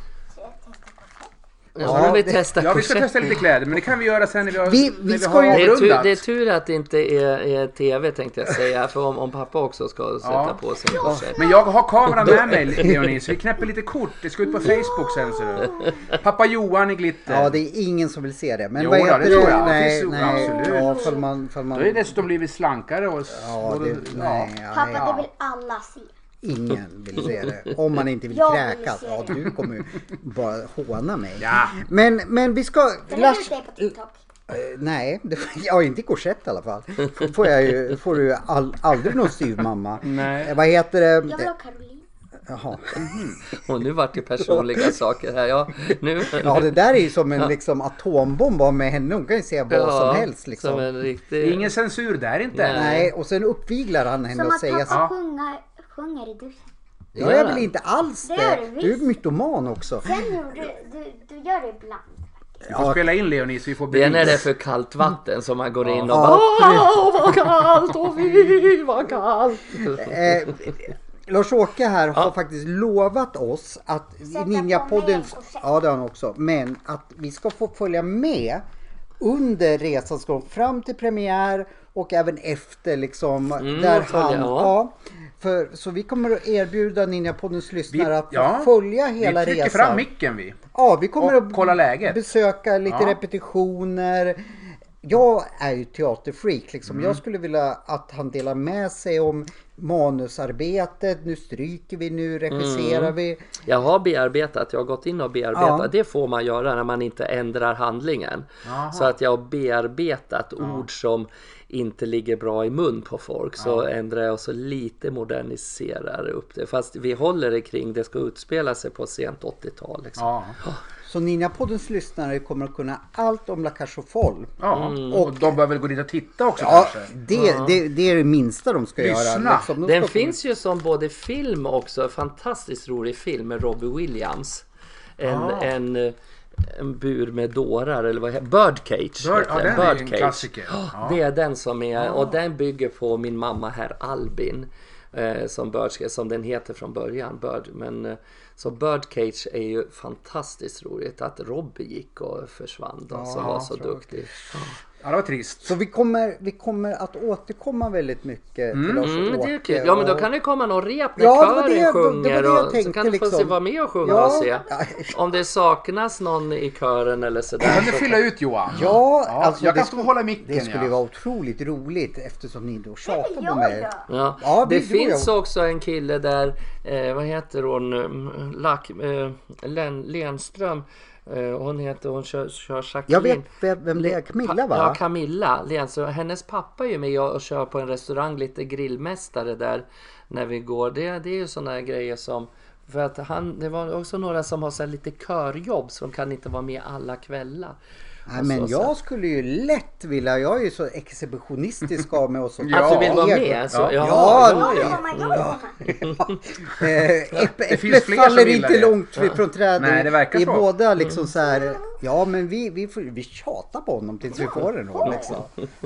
Ja,
Ja,
vi
det-
testa
Ja, vi ska
korsett.
testa lite kläder, men det kan vi göra sen när vi har,
Vi- vi
när
ska
har
ju-
Det är, tur,
avrundat.
det är tur att det inte är, är tv tänkte jag säga. För om, om pappa också ska sätta
Ja.
på sig en korsett.
Men jag har kameran
[LAUGHS]
med mig, Leonis. Vi knäpper lite kort. Det ska ut på Facebook sen, ser du.
[LAUGHS]
Pappa Johan i glitter.
ja, det är ingen som vill se det. Men
Jo
vad
då,
heter
det tror jag. Det
Nej,
finns-
nej.
absolut.
Ja, fall man, fall man...
Då är det dessutom blivit slankare och...
Ja,
och-
det, nej, ja,
Pappa,
nej,
Ja.
det vill alla se.
ingen vill se det. Om man inte vill
Jag vill
kräkas.
se
Ja,
det.
du kommer ju bara håna mig.
Ja.
Men, men vi ska...
Lägg ut
Lars,
det på TikTok.
Eh, Nej, det, [LAUGHS] ja, inte i korsett i alla fall. F- Får, jag ju, får du ju all, aldrig någon styvmamma.
Nej.
Eh, Vad heter
Jag
det? Eh,
vill ha Caroline.
Jaha.
Och nu vart det personliga saker här. Ja, nu.
Ja, det där är ju som en liksom, atombomb bara med henne. Hon kan ju säga vad
[LAUGHS] Ja,
som helst liksom.
Som en
Det är
riktig...
Ingen censur där inte.
Nej.
Nej, och sen uppviglar han henne
Som
och
att
säger
pappa
så.
sjunger, sjunger i duschen.
Ja, jag vill inte alls
Det gör
det.
du
Du är
visst.
mytoman också.
Sen gjorde du, du gör det ibland.
Vi får spela in Leonis, vi får
Det är
bevis.
när det är för kallt vatten som man går in och
Ja,
bara Åh, vad kallt! Åh, fy, vad kallt!
Eh, Lars-Åke här har faktiskt lovat oss att
Sätta på mig
Ninjapodden,
en korsett.
ja det har han också, men att vi ska få följa med under resans gång fram till premiär och även efter liksom
Mm,
där
följa,
han,
ja.
ja. För, så vi kommer att erbjuda Ninjapoddens lyssnare att
ja,
följa hela
Vi trycker
resan.
fram micken vi.
Ja, vi kommer
Och
att
kolla läget.
besöka lite
Ja.
repetitioner. Jag är ju teaterfreak liksom.
Mm.
Jag skulle vilja att han delar med sig om manusarbetet. Nu stryker vi, nu regisserar
Mm.
vi.
Jag har bearbetat, jag har gått in och bearbetat.
Ja.
Det får man göra när man inte ändrar handlingen. Så att jag har bearbetat ord som inte ligger bra i mun på folk. Så ändrar jag och så lite moderniserar upp det. Fast vi håller det kring, det ska utspela sig på sent 80-tal. Liksom.
Ja.
Så Ninjapoddens lyssnare kommer att kunna allt om La Cage aux Folles.
ja. Och de bör väl gå dit och titta också
Ja,
kanske.
det, det, det är det minsta de ska göra.
Lyssna.
Liksom. De
Den
ska-
finns ju som både film också, en fantastiskt rolig film med Robbie Williams. En,
Ah.
en, eh, en bur med dårar eller vad heter Birdcage.
Bird-
heter
ja,
den.
den är ju en
Birdcage. Ah,
klassiker. Ja. Ah.
Det är den som är och den bygger på min mamma herr Albin. Eh, som, Bird, som den heter från början. Bird, men, eh, så Birdcage är ju fantastiskt roligt att Robbie gick och försvann då, som var så duktig.
Ja, det var trist.
Så vi kommer, vi kommer att återkomma väldigt mycket till
Mm,
Lars-Åke.
det är kul. Ja men då
och-
kan det komma någon rep när
Ja, det var
kören
det- det var det
sjunger
jag
och så
tänkte,
kan du få se
liksom.
vara med och
[LAUGHS]
sjunga
Ja.
och se. Om det saknas någon i kören eller sådär.
Kan du
Så
fylla ut Johan?
Ja, alltså
jag
det
kan stå och hålla micken.
Det skulle
ja.
ju vara otroligt roligt eftersom ni då
Det
tjatar
vill
på
jag
mig.
göra.
Ja.
Ja,
det
det tror
finns också en kille där, eh, vad heter hon, Mm, Lack, eh, Len, Lenström. Eh, Hon heter, hon kör, kör
Jag
Jacqueline.
vet vem, vem det är, Camilla va?
Ja, Camilla Lén. Så hennes pappa är ju med och kör på en restaurang, lite grillmästare där när vi går. Det, det är ju sådana här grejer som... För att han, det var också några som har så här lite körjobb så de kan inte vara med alla kvällar.
Nej,
Och
men
så- så-
jag skulle ju lätt vilja, jag är ju så exhibitionistisk av mig och så.
Ja.
Att du vill vara med? Så,
Ja.
ja,
Ja,
ja,
det-
ja.
Komma, jag vill komma.
Eh, äpp-
Det finns
Äpplet
fler som
faller
gillar
inte
det.
långt från trädet.
Nej, det verkar
vi är
så.
båda liksom så här. Ja, men vi, vi, får, vi tjatar på honom tills vi får en roll. Liksom.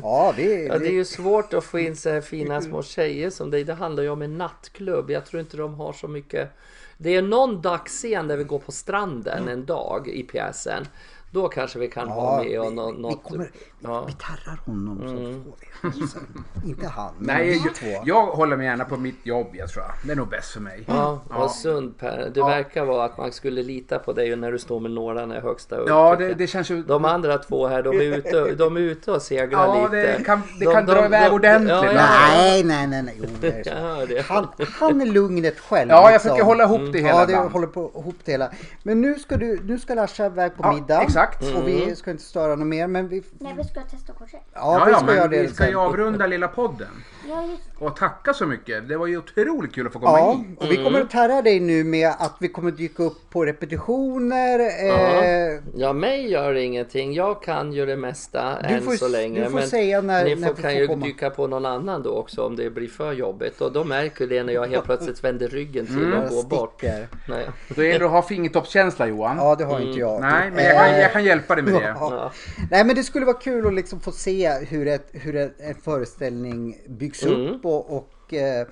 Ja, vi,
Ja, det är
vi,
ju svårt att få in så här fina
Mm.
små tjejer som dig. Det handlar ju om en nattklubb. Jag tror inte de har så mycket. Det är någon dagsscen där vi går på stranden en dag i pjäsen. Då kanske vi kan
ja,
ha
vi,
med och nå-
vi,
något.
kommer,
ja.
vi tarrar honom så får vi. Alltså, inte han, men
Mm. Nej,
vi
jag,
två.
jag håller mig gärna på mitt jobb, jag tror jag. Det är nog bäst för mig.
Ja, vad sund Per. Du verkar vara att man skulle lita på dig när du står med nålarna i högsta upp.
Ja, det, det känns ju...
De andra två här, de är ute, de är ute och seglar
Ja,
lite.
det kan- det
de,
kan dra iväg ordentligt.
Ja, ja,
Nej, nej, nej, nej. Jo, det är så.
jag hör det.
Han, han är lugnet själv.
Ja, jag
liksom.
försöker hålla ihop det hela
Ja, det
ibland.
håller på ihop det hela. Men nu ska du, nu ska Larsa iväg på
Ja,
middag.
exakt. Mm.
Och vi ska inte störa något mer. Men vi,
Nej, vi ska testa korset.
ja,
Ja,
vi
ja,
ska göra
men
det
vi ska
sen.
ju avrunda lilla podden.
Ja, just det.
Och tacka så mycket. Det var ju otroligt kul att få komma
Ja,
hit.
och vi kommer att tära dig nu med att vi kommer att dyka upp på repetitioner. Eh,
Ja, mig gör det ingenting. Jag kan ju det mesta
Du
än
får-
så länge.
du får säga när-
ni
när vi
kan
får
ju
komma.
dyka på någon annan då också om det blir för jobbigt. Och då märker det när jag helt plötsligt vänder ryggen till och går bort.
sticker.
Nej.
Då gäller det att ha fingertoppskänsla Johan.
Ja, det har inte jag.
Mm. Nej, men jag kan, jag kan hjälpa dig med det.
Ja. Nej men det skulle vara kul att liksom få se hur, ett, hur ett, en föreställning byggs upp och, och eh, eh,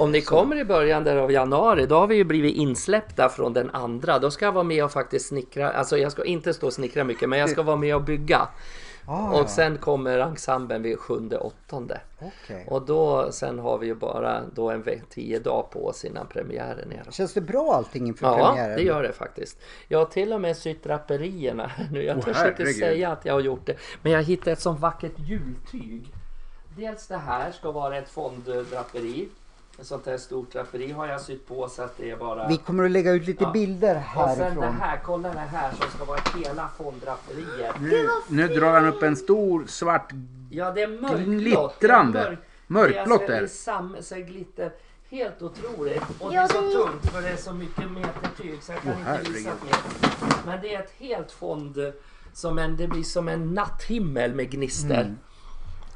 Om ni kommer i början där av januari, då har vi ju blivit insläppta från den andra. Då ska jag vara med och faktiskt snickra. Alltså jag ska inte stå och snickra mycket, men jag ska vara med och bygga.
Ah.
Och sen kommer ensemblen vid sjunde, åttonde.
Okej.
Och då, sen har vi ju bara då en ve- tio dagar på oss innan premiären är. då.
Känns det bra allting inför
Ja,
premiären?
det gör det faktiskt. Jag har till och med sytt draperierna här [LAUGHS] nu. Jag
Åh,
törs inte
herregud.
säga att jag har gjort det. Men jag hittade ett sånt vackert jultyg. Dels det här ska vara ett fonddraperi. Ett sånt här stort draperi har jag sytt på så att det är bara...
Vi kommer att lägga ut lite
Ja.
bilder
Och sen det
härifrån.
här, kolla det här som ska vara hela fonddraperiet.
Nu, nu drar han upp en stor svart
Ja, det är mörkblått. det är
glittrande. Mörkblått
det. är
är
alltså i sam- så här glitter. Helt otroligt. Och
Ja,
det är så
det-
tungt för det är så mycket metertyg så jag kan inte
herregud.
visa mer. Men det är ett helt fond. Som en, det blir som en natthimmel med gnister.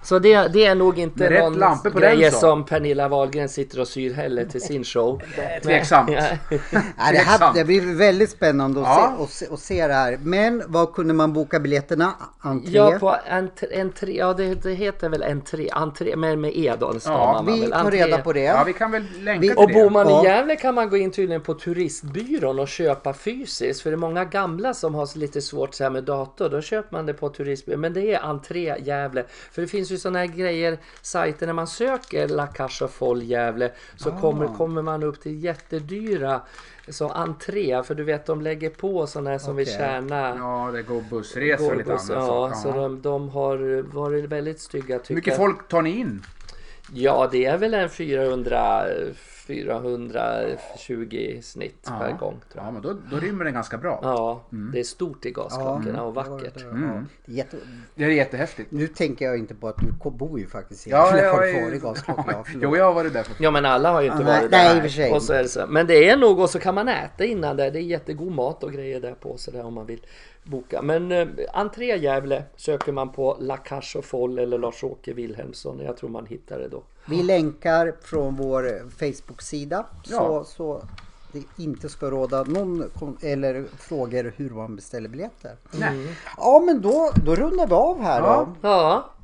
Så det, det är nog inte
Mm. Med rätt
någon
lampor på
grejer
den, så.
som Pernilla Wahlgren sitter och syr heller till
[LAUGHS]
sin show.
tveksamt.
Nej, det, här,
Tveksamt.
det blir väldigt spännande att,
Ja.
se, och se, och se det här. Men var kunde man boka biljetterna? Entré?
Ja, på entré, entré, ja det, det heter väl entré, entré med, med E då stavar
Ja,
man
vi
väl.
tar
Entré.
reda på det.
Ja, vi kan väl
Vi-
länka
Och
till
bor
det.
man
Ja.
i Gävle kan man gå in tydligen på turistbyrån och köpa fysiskt. För det är många gamla som har lite svårt så här med dator. Då köper man det på turistbyrån. Men det är entré Gävle. För det finns ju sådana här grejer, sajter när man söker La Cage Foll Gävle. Så
Ah.
kommer, kommer man upp till jättedyra så entré. För du vet de lägger på sådana här som vill
Okej.
tjäna.
Ja, det går bussresor och lite annat.
Gorgos, ja,
så.
så
Ja.
de, de har varit väldigt stygga tycker
Hur mycket
jag.
folk tar ni in?
Ja, det är väl en 400, 420 snitt per gång. Tror jag.
Ja, men då, då rymmer den ganska bra.
Ja, det är stort i gasklockorna och vackert.
Mm. Ja, det är jätte...
Det är
[LAUGHS]
jättehäftigt.
Nu tänker jag inte på att du ko- bor ju faktiskt i
Ja, jag,
har
är-
kvar i
[LAUGHS]
gasklockan. Ja, förlåt.
jo, jag har varit där. för-
Ja men alla har ju inte
Ja,
varit
nej,
där.
i och för sig.
Och så är det så. Men det är nog och så kan man äta innan där. Det är jättegod mat och grejer där på så där om man vill boka. Men eh, entré Gävle söker man på La Cage och Foll eller Lars-Åke Wilhelmsson. Jag tror man hittar det då.
Vi länkar från vår eh, Facebook-sida så,
Ja.
så det inte ska råda någon kon- eller frågor hur man beställer biljetter.
Mm.
Nej.
Ja men då, då rundar vi av här
Mm. Ja.
då.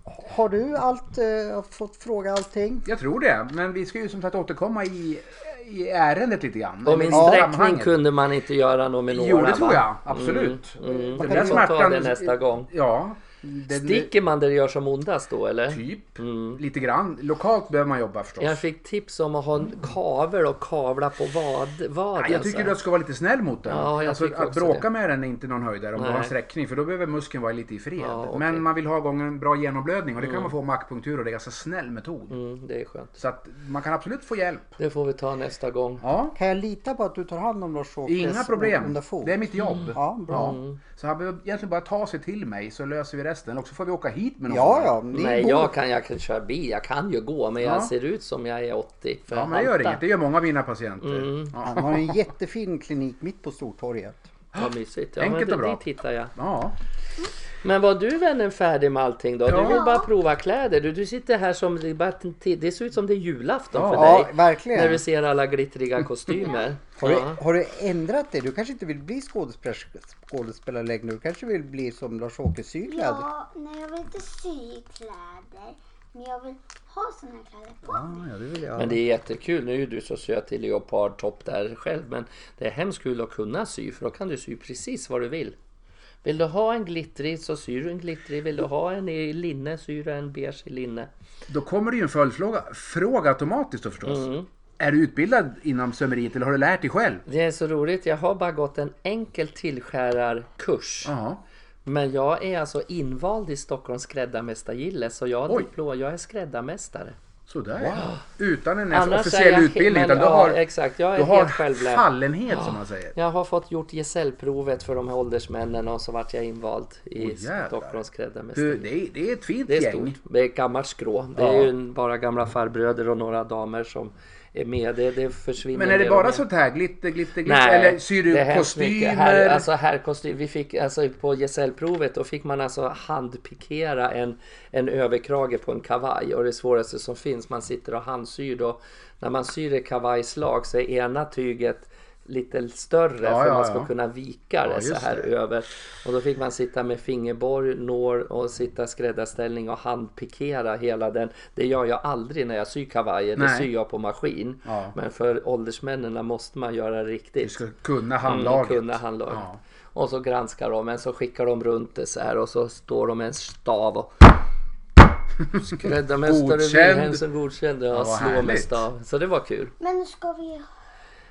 Ja,
Har du allt, eh, fått fråga allting?
Jag tror det, men vi ska ju som sagt återkomma i, i ärendet lite grann.
och min
Eller i
sträckning
sammanhanget.
kunde man inte göra något med några
Jo, det tror
va?
jag. Absolut.
Mm.
Den
Man
där
kan få ta
smärtan...
det nästa gång.
Ja, Den,
Sticker man där det gör som ondast då eller?
Typ,
Mm.
lite grann. Lokalt behöver man jobba förstås.
Jag fick tips om att ha en kavel och kavla på vad, vaden.
Mm. Nej, jag tycker
så här.
du ska vara lite snäll mot den.
Alltså. Ja, jag
alltså,
tycker
att
också
bråka
det.
med den är inte någon höjdare om du
Nej.
har en sträckning för då behöver muskeln vara lite i fred.
Ja, okej.
Men man vill ha igång en bra genomblödning och det kan man få med akupunktur och det är en ganska snäll metod.
Mm, det är skönt.
Så att man kan absolut få hjälp.
Det får vi ta nästa gång.
Ja,
Kan jag lita på att du tar hand om Lars-Åkes
inga problem.
onda fot?
Det är mitt jobb.
Mm.
Ja, bra.
Så han behöver egentligen bara ta sig till mig så löser vi resten. Eller också får vi åka hit med någon.
Ja, ja. Det
Nej,
går.
jag kan, jag kan köra bil. Jag kan ju gå, men
Ja.
jag ser ut som jag är 80. För
Ja,
jag
men det gör
haltar.
inget. Det gör många av mina patienter.
Mm.
Ja.
Han har en jättefin klinik mitt på Stortorget.
Vad mysigt. Ja,
Enkelt
men
och bra.
Dit hittar jag.
ja.
Men var du vännen färdig med allting då?
Ja.
Du vill bara prova kläder. Du, du sitter här som... det är bara att- Det ser ut som det är julafton
Ja.
för
Ja,
dig.
verkligen.
När du ser alla glittriga kostymer.
Har du,
Ja.
har du ändrat dig? Du kanske inte vill bli skådespelare, skådespelare längre. Du kanske vill bli som Lars-Åke Sykland?
Ja, nej jag vill inte sy kläder. Men jag vill ha såna kläder på mig.
Ah, ja, det vill jag.
Men det är jättekul. Nu är ju du så söt i leopardtopp där själv. Men det är hemskt kul att kunna sy för då kan du sy precis vad du vill. Vill du ha en glittrig så syr du en glittrig. Vill du ha en i linne syr du en beige i linne.
Då kommer det ju en följdfråga. Fråga automatiskt då förstås.
Mm.
Är du utbildad inom sömmeriet eller har du lärt dig själv?
Det är så roligt. Jag har bara gått en enkel tillskärarkurs.
Ja.
Men jag är alltså invald i Stockholms skräddarmästargille så jag har
Oj.
diplom. Jag är skräddarmästare.
Sådär ja. Utan en ens
är
officiell
jag he-
utbildning.
men
Utan du
ja,
har,
exakt. Jag är
du
helt
har
självlärd.
fallenhet som man säger.
Jag har fått gjort gesällprovet för de här åldersmännen och så vart jag invald i
Åh, jävlar.
Stockholms
Du,
skräddarmästargille.
det, är, det är ett fint
Det är
gäng.
stort. Det är ett gammalt skrå. Det
Ja.
är ju bara gamla farbröder och några damer som är med. Det, det försvinner.
Men är det
mer
bara
och mer.
sånt här glitter, glitter, glitter?
Nej,
eller syr
det är
du
hemskt mycket. Här,
kostymer?
alltså här kostym, vi fick alltså på gesällprovet då fick man alltså handpikera en, en överkrage på en kavaj och det svåraste som finns, man sitter och handsyr då. När man syr ett kavajslag så är ena tyget lite större
Ja,
för
ja,
man ska
ja.
kunna vika det
Ja,
så
just
här
det.
över. Och då fick man sitta med fingerborg, nål och sitta skräddarställning och handpikera hela den. Det gör jag aldrig när jag syr kavajer, det
Nej.
syr jag på maskin.
Ja.
Men för åldersmännen måste man göra riktigt.
Du ska kunna
Mm,
handlaget.
kunna handlaget.
Ja.
Och så granskar de en, så skickar de runt det så här och så står de med en stav och Skräddarmästare
Godkänd.
Wilhelmsson godkände
vad
och slår med
härligt.
stav. Så det var kul.
Men ska vi...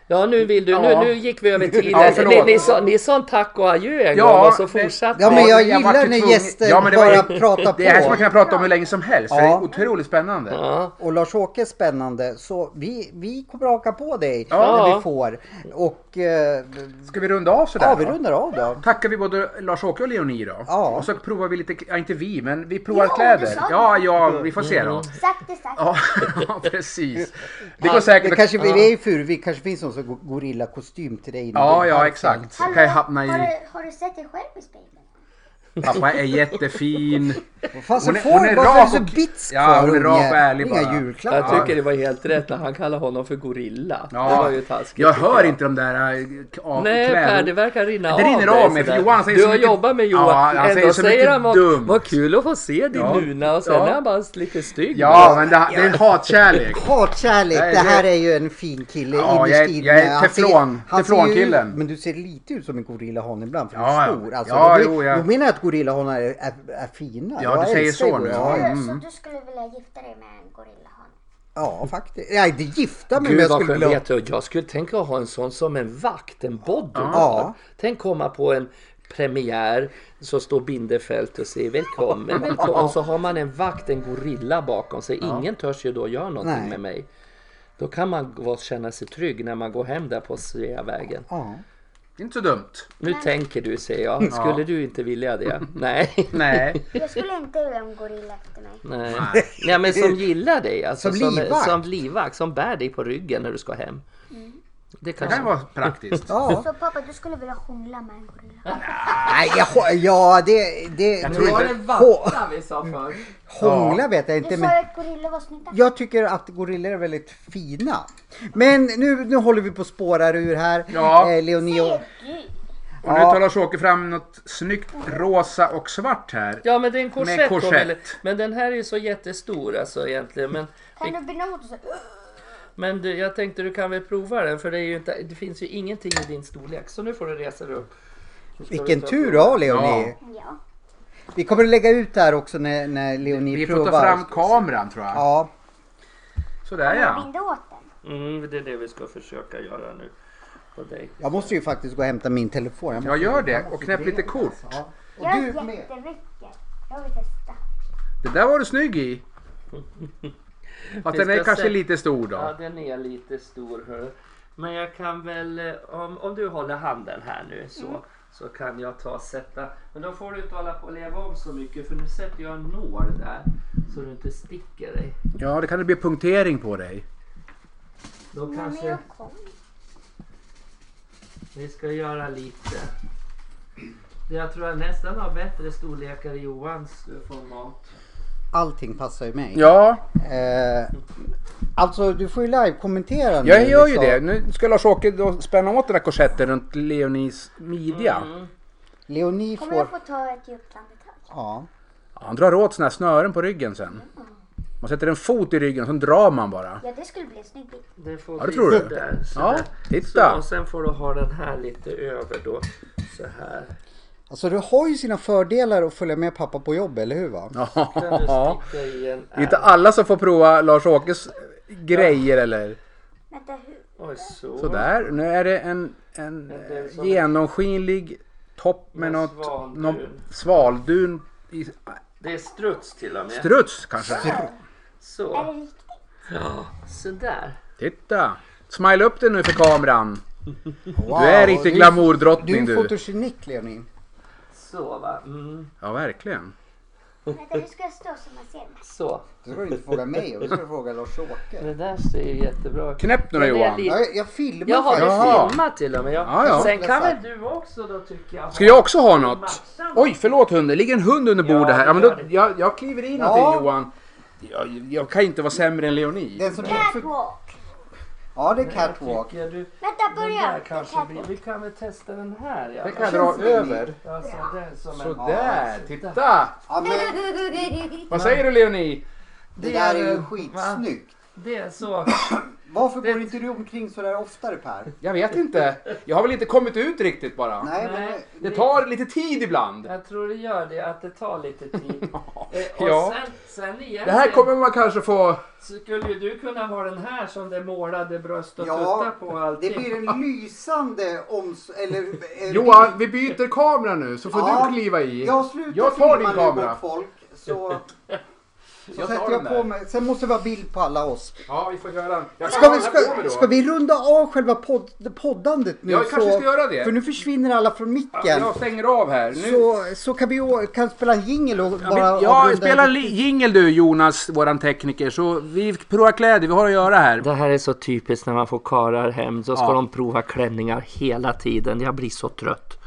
Ja nu vill du,
Ja.
nu, nu gick vi
[LAUGHS]
över tiden.
Ja, förlåt.
ni, ni, sa, ni sa en tack och adjö en
Ja,
gång och så
det-
fortsatte
Ja, men
vi.
jag
jag vart ju
gillar när
tvungen-
gäster
Ja, men det var
bara
ju-
pratar på.
Det är här som man kan prata om hur länge som helst. för Det
Ja.
är otroligt spännande.
Ja,
Och Lars-Åke är spännande, så vi, vi kommer haka på dig
Ja.
när vi får. Och eh,
Ska vi runda av sådär?
ja, vi
då?
rundar av då.
Tackar vi både Lars-Åke och Leonie då.
Ja.
Och så provar vi lite, ja inte vi, men vi provar
Jo,
kläder.
det sa vi.
Ja, ja, vi får se
Mm.
då.
Sagt är sagt.
Ja, [LAUGHS] ja, precis. Det går säkert
Det
att-
kanske vi är i Furuvik, kanske finns någon som går gorilla kostym till dig.
Ja, ja exakt.
Hallå,
Kan jag hamna
har,
i...
du, har du sett dig själv i spegeln?
Pappa är jättefin.
Fast hon
Hon är-
är, får,
hon är
varför är du
rak
så
och-
bitsk
Ja,
för,
hon är rak och
unge?
ärlig bara.
Inga
jag
julklappar.
tycker det var helt rätt när han kallade honom för gorilla. Det var
Ja,
ju taskigt.
jag
tycker
hör inte de där äh, k- av,
Nej Per, det
kläder.
verkar rinna
Det
av
rinner
dig
av mig, för
sådär.
Johan säger
Du
så
har
mycket-
jobbat med
Ja,
Johan,
han
ja,
säger
ändå
så
säger
mycket
han vad,
dumt."
vad kul att få se din
Ja,
nuna och sen
ja.
är han bara lite stygg.
Ja, men det, det är en hatkärlek.
Hatkärlek,
Nej,
det här
det-
är ju en fin kille
Ja,
innerst
jag är-
inne.
jag är
Han ser-
teflon-
han ser ju-
teflonkillen.
Men du ser lite ut som en gorillahan ibland för
Ja,
du
ja.
är stor. Alltså,
Ja,
då,
jo, jag-
då menar jag att gorillahanar är, är, är fina.
Ja,
Jag
du säger
älskar
så
gorilla-
nu.
Ja,
Ja.
ja.
Mm.
Så du skulle vilja gifta dig med en gorillahane?
faktiskt. Nej, det är gifta mig men
Gud
jag
vad
skulle
skönt.
vilja...
Vet du, jag skulle tänka att ha en sån som en vakt, en bodyguard.
Ja.
Tänk komma på en premiär så står Bindefält och säger
[LAUGHS]
välkommen, välkommen. Och så har man en vakt, en gorilla bakom sig. Ingen törs ju då göra någonting
Nej.
med mig. Då kan man vara- känna sig trygg när man går hem där på Sveavägen.
Ja.
Det är inte så dumt.
Nu tänker du säger jag. Skulle du inte vilja det? Nej.
Nej.
Jag skulle inte vilja ha en gorilla efter mig.
Nej. [LAUGHS] Nej men som gillar dig. Alltså,
Som
som,
livvakt.
Som livvakt. Som bär dig på ryggen när du ska hem. Det
[LAUGHS] Det
kanske...
kan ju vara praktiskt.
Ja.
Så pappa, du skulle vilja hångla med en gorilla?
Nej, jag, ja, det... det
Jag tror inte...
Hå-
vi sa förr.
Hångla vet jag
Du
inte,
sa
men...
ju att gorilla var snygga.
Jag tycker att gorillor är väldigt fina. Men nu, nu håller vi på att spåra ur här.
Ja.
Eh, Leonie och...
Gud.
Och nu
Ja.
tar Lars-Åke fram något snyggt rosa och svart här.
Ja men det är en
Med
korsett.
en
då,
korsett.
väl- Men den här är ju så jättestor alltså egentligen. Men,
Kan du binda ihop det så?
men du, jag tänkte du kan väl prova den för det, är ju inte, det finns ju ingenting i din storlek. Så nu får du resa dig upp. Så ska
Vilken
vi ta-
tur du har Leonie.
Ja.
Ja.
Vi kommer att lägga ut det här också när, när Leonie
Vi får
provar.
ta fram kameran tror jag.
Ja,
Sådär
Jag
ja.
binde åt den.
Mm, det är det vi ska försöka göra nu på dig.
jag måste ju faktiskt gå och hämta min telefon. måste-
Jag gör det,
måste
och knäpp
ju
lite
ringa.
kort.
Ja. Och
Jag är
du med.
jättevacker. Jag vill testa.
Det där var du snygg
[LAUGHS]
i. Fast
Vi
den är
ska
kanske
se.
lite stor då.
Ja, den är lite stor. hörru. Men jag kan väl, eh, om, om du håller handen här nu så,
Mm.
så kan jag ta och sätta. Men då får du inte hålla på och leva om så mycket för nu sätter jag en nål där så du inte sticker dig.
Ja, det kan det bli punktering på dig.
Då
Ja, men
kanske
jag kom.
vi ska göra lite. Jag tror jag nästan har bättre storlekar i Johans eh, format.
Allting passar ju mig.
Ja,
Eh, alltså du får ju live kommentera nu.
jag gör ju
liksom.
Mm, det. Nu ska Lars-Åke då spänna åt den här korsetten runt Leonis midja.
Mm.
Leonie
Kommer jag
får...
få ta ett djupt andetag?
Ja.
Ja, Han drar åt såna här snören på ryggen sen. Man sätter en fot i ryggen och sen drar man bara.
Ja, det skulle bli en snygg bild.
Det får
Ja, det
bli
tror du.
sådär,
Ja,
sådär.
titta.
Så, och sen får du ha den här lite över då. Så här.
Alltså du har ju sina fördelar att följa med pappa på jobb, eller hur? Va?
Kan du
Ja.
sticka i en
Det är inte alla som får prova Lars-Åkes grejer eller?
Vänta, hur?
Oj, så.
Sådär, nu är det en, en
Det är
eh,
som-
genomskinlig topp med
Med
något,
svaldun.
någon svaldun. I,
Det är struts till och med.
struts kanske?
Är det
så.
riktigt?
Ja, sådär.
Titta! Smile upp den nu för glamourdrottning
Wow.
Du är riktig
Du är
glamourdrottning
en
du.
fotogenik Leonie.
Så va. Mm.
Ja, verkligen.
Vänta, nu ska jag stå så man ser mig.
Så.
Du ska du inte fråga mig, du ska fråga Lars-Åke.
Det där ser ju jättebra ut.
Knäpp några
Men det är
Johan.
lite-
Jag, jag filmar
Jag har
faktiskt.
Jaha.
det filmat till och med. Jag,
Ja, ja.
Sen kan väl du också då tycker jag.
Ska jag också ha något? Oj, förlåt hunden. Det ligger en hund under
Ja,
bordet här. Ja, men
det
då,
gör det.
jag, jag kliver in
Ja.
någonting Johan. Jag, jag kan inte vara sämre än Leonie.
Den som för...
Catwalk!
Ja, det är
Jag
catwalk.
tycker du,
Vänta,
den
börja!
där
med
kanske
catwalk.
blir, vi kan väl testa den här. Ja.
Den kan jag dra över.
Ja, så den som en-
Sådär, titta!
Ja, men
[LAUGHS]
Vad säger du Leonie?
det där är ju
va?
skitsnyggt.
Det är så.
Varför går inte du omkring sådär oftare Per?
Jag vet inte. Jag har väl inte kommit ut riktigt bara.
Nej, men...
Nej.
Det tar lite tid ibland.
Jag tror det gör det, att det tar lite tid. Eh, och
[LAUGHS] Ja.
sen, sen igen,
Det här kommer man kanske få...
skulle ju du kunna ha den här som det målade bröst och tuttar
Ja,
på och allting.
det blir en lysande oms... Eller... eh,
Johan, vi byter kamera nu så får
Ja.
du kliva i.
Jag slutar
Jag tar din
filma nu
kamera.
bort folk.
[LAUGHS]
Så, så
tar
sätter
den
jag på
där.
mig. Sen måste det vara bild på alla oss.
Ja, vi får göra. Jag
Ska
kan
vi,
hålla på med
ska,
då.
ska vi runda av själva podd, poddandet nu?
Ja, vi kanske
så,
ska göra det.
För nu försvinner alla från micken.
Jag stänger av här. Nu...
så, så kan vi å- kan spela en jingel och bara
ja,
avrunda.
spela jingel du Jonas, våran tekniker. Så vi provar kläder, vi har att göra här.
Det här är så typiskt när man får karar hem. Så ska
Ja.
de prova klänningar hela tiden. Jag blir så trött.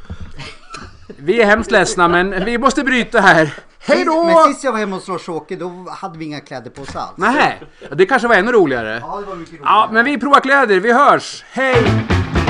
Vi är hemskt ledsna men vi måste bryta här. Hej då!
Men sist jag var hemma hos Lars-Åke då hade vi inga kläder på oss alls.
Nej, det kanske var ännu roligare.
Ja, det var mycket roligt.
Ja, men vi provar kläder, vi hörs. Hej!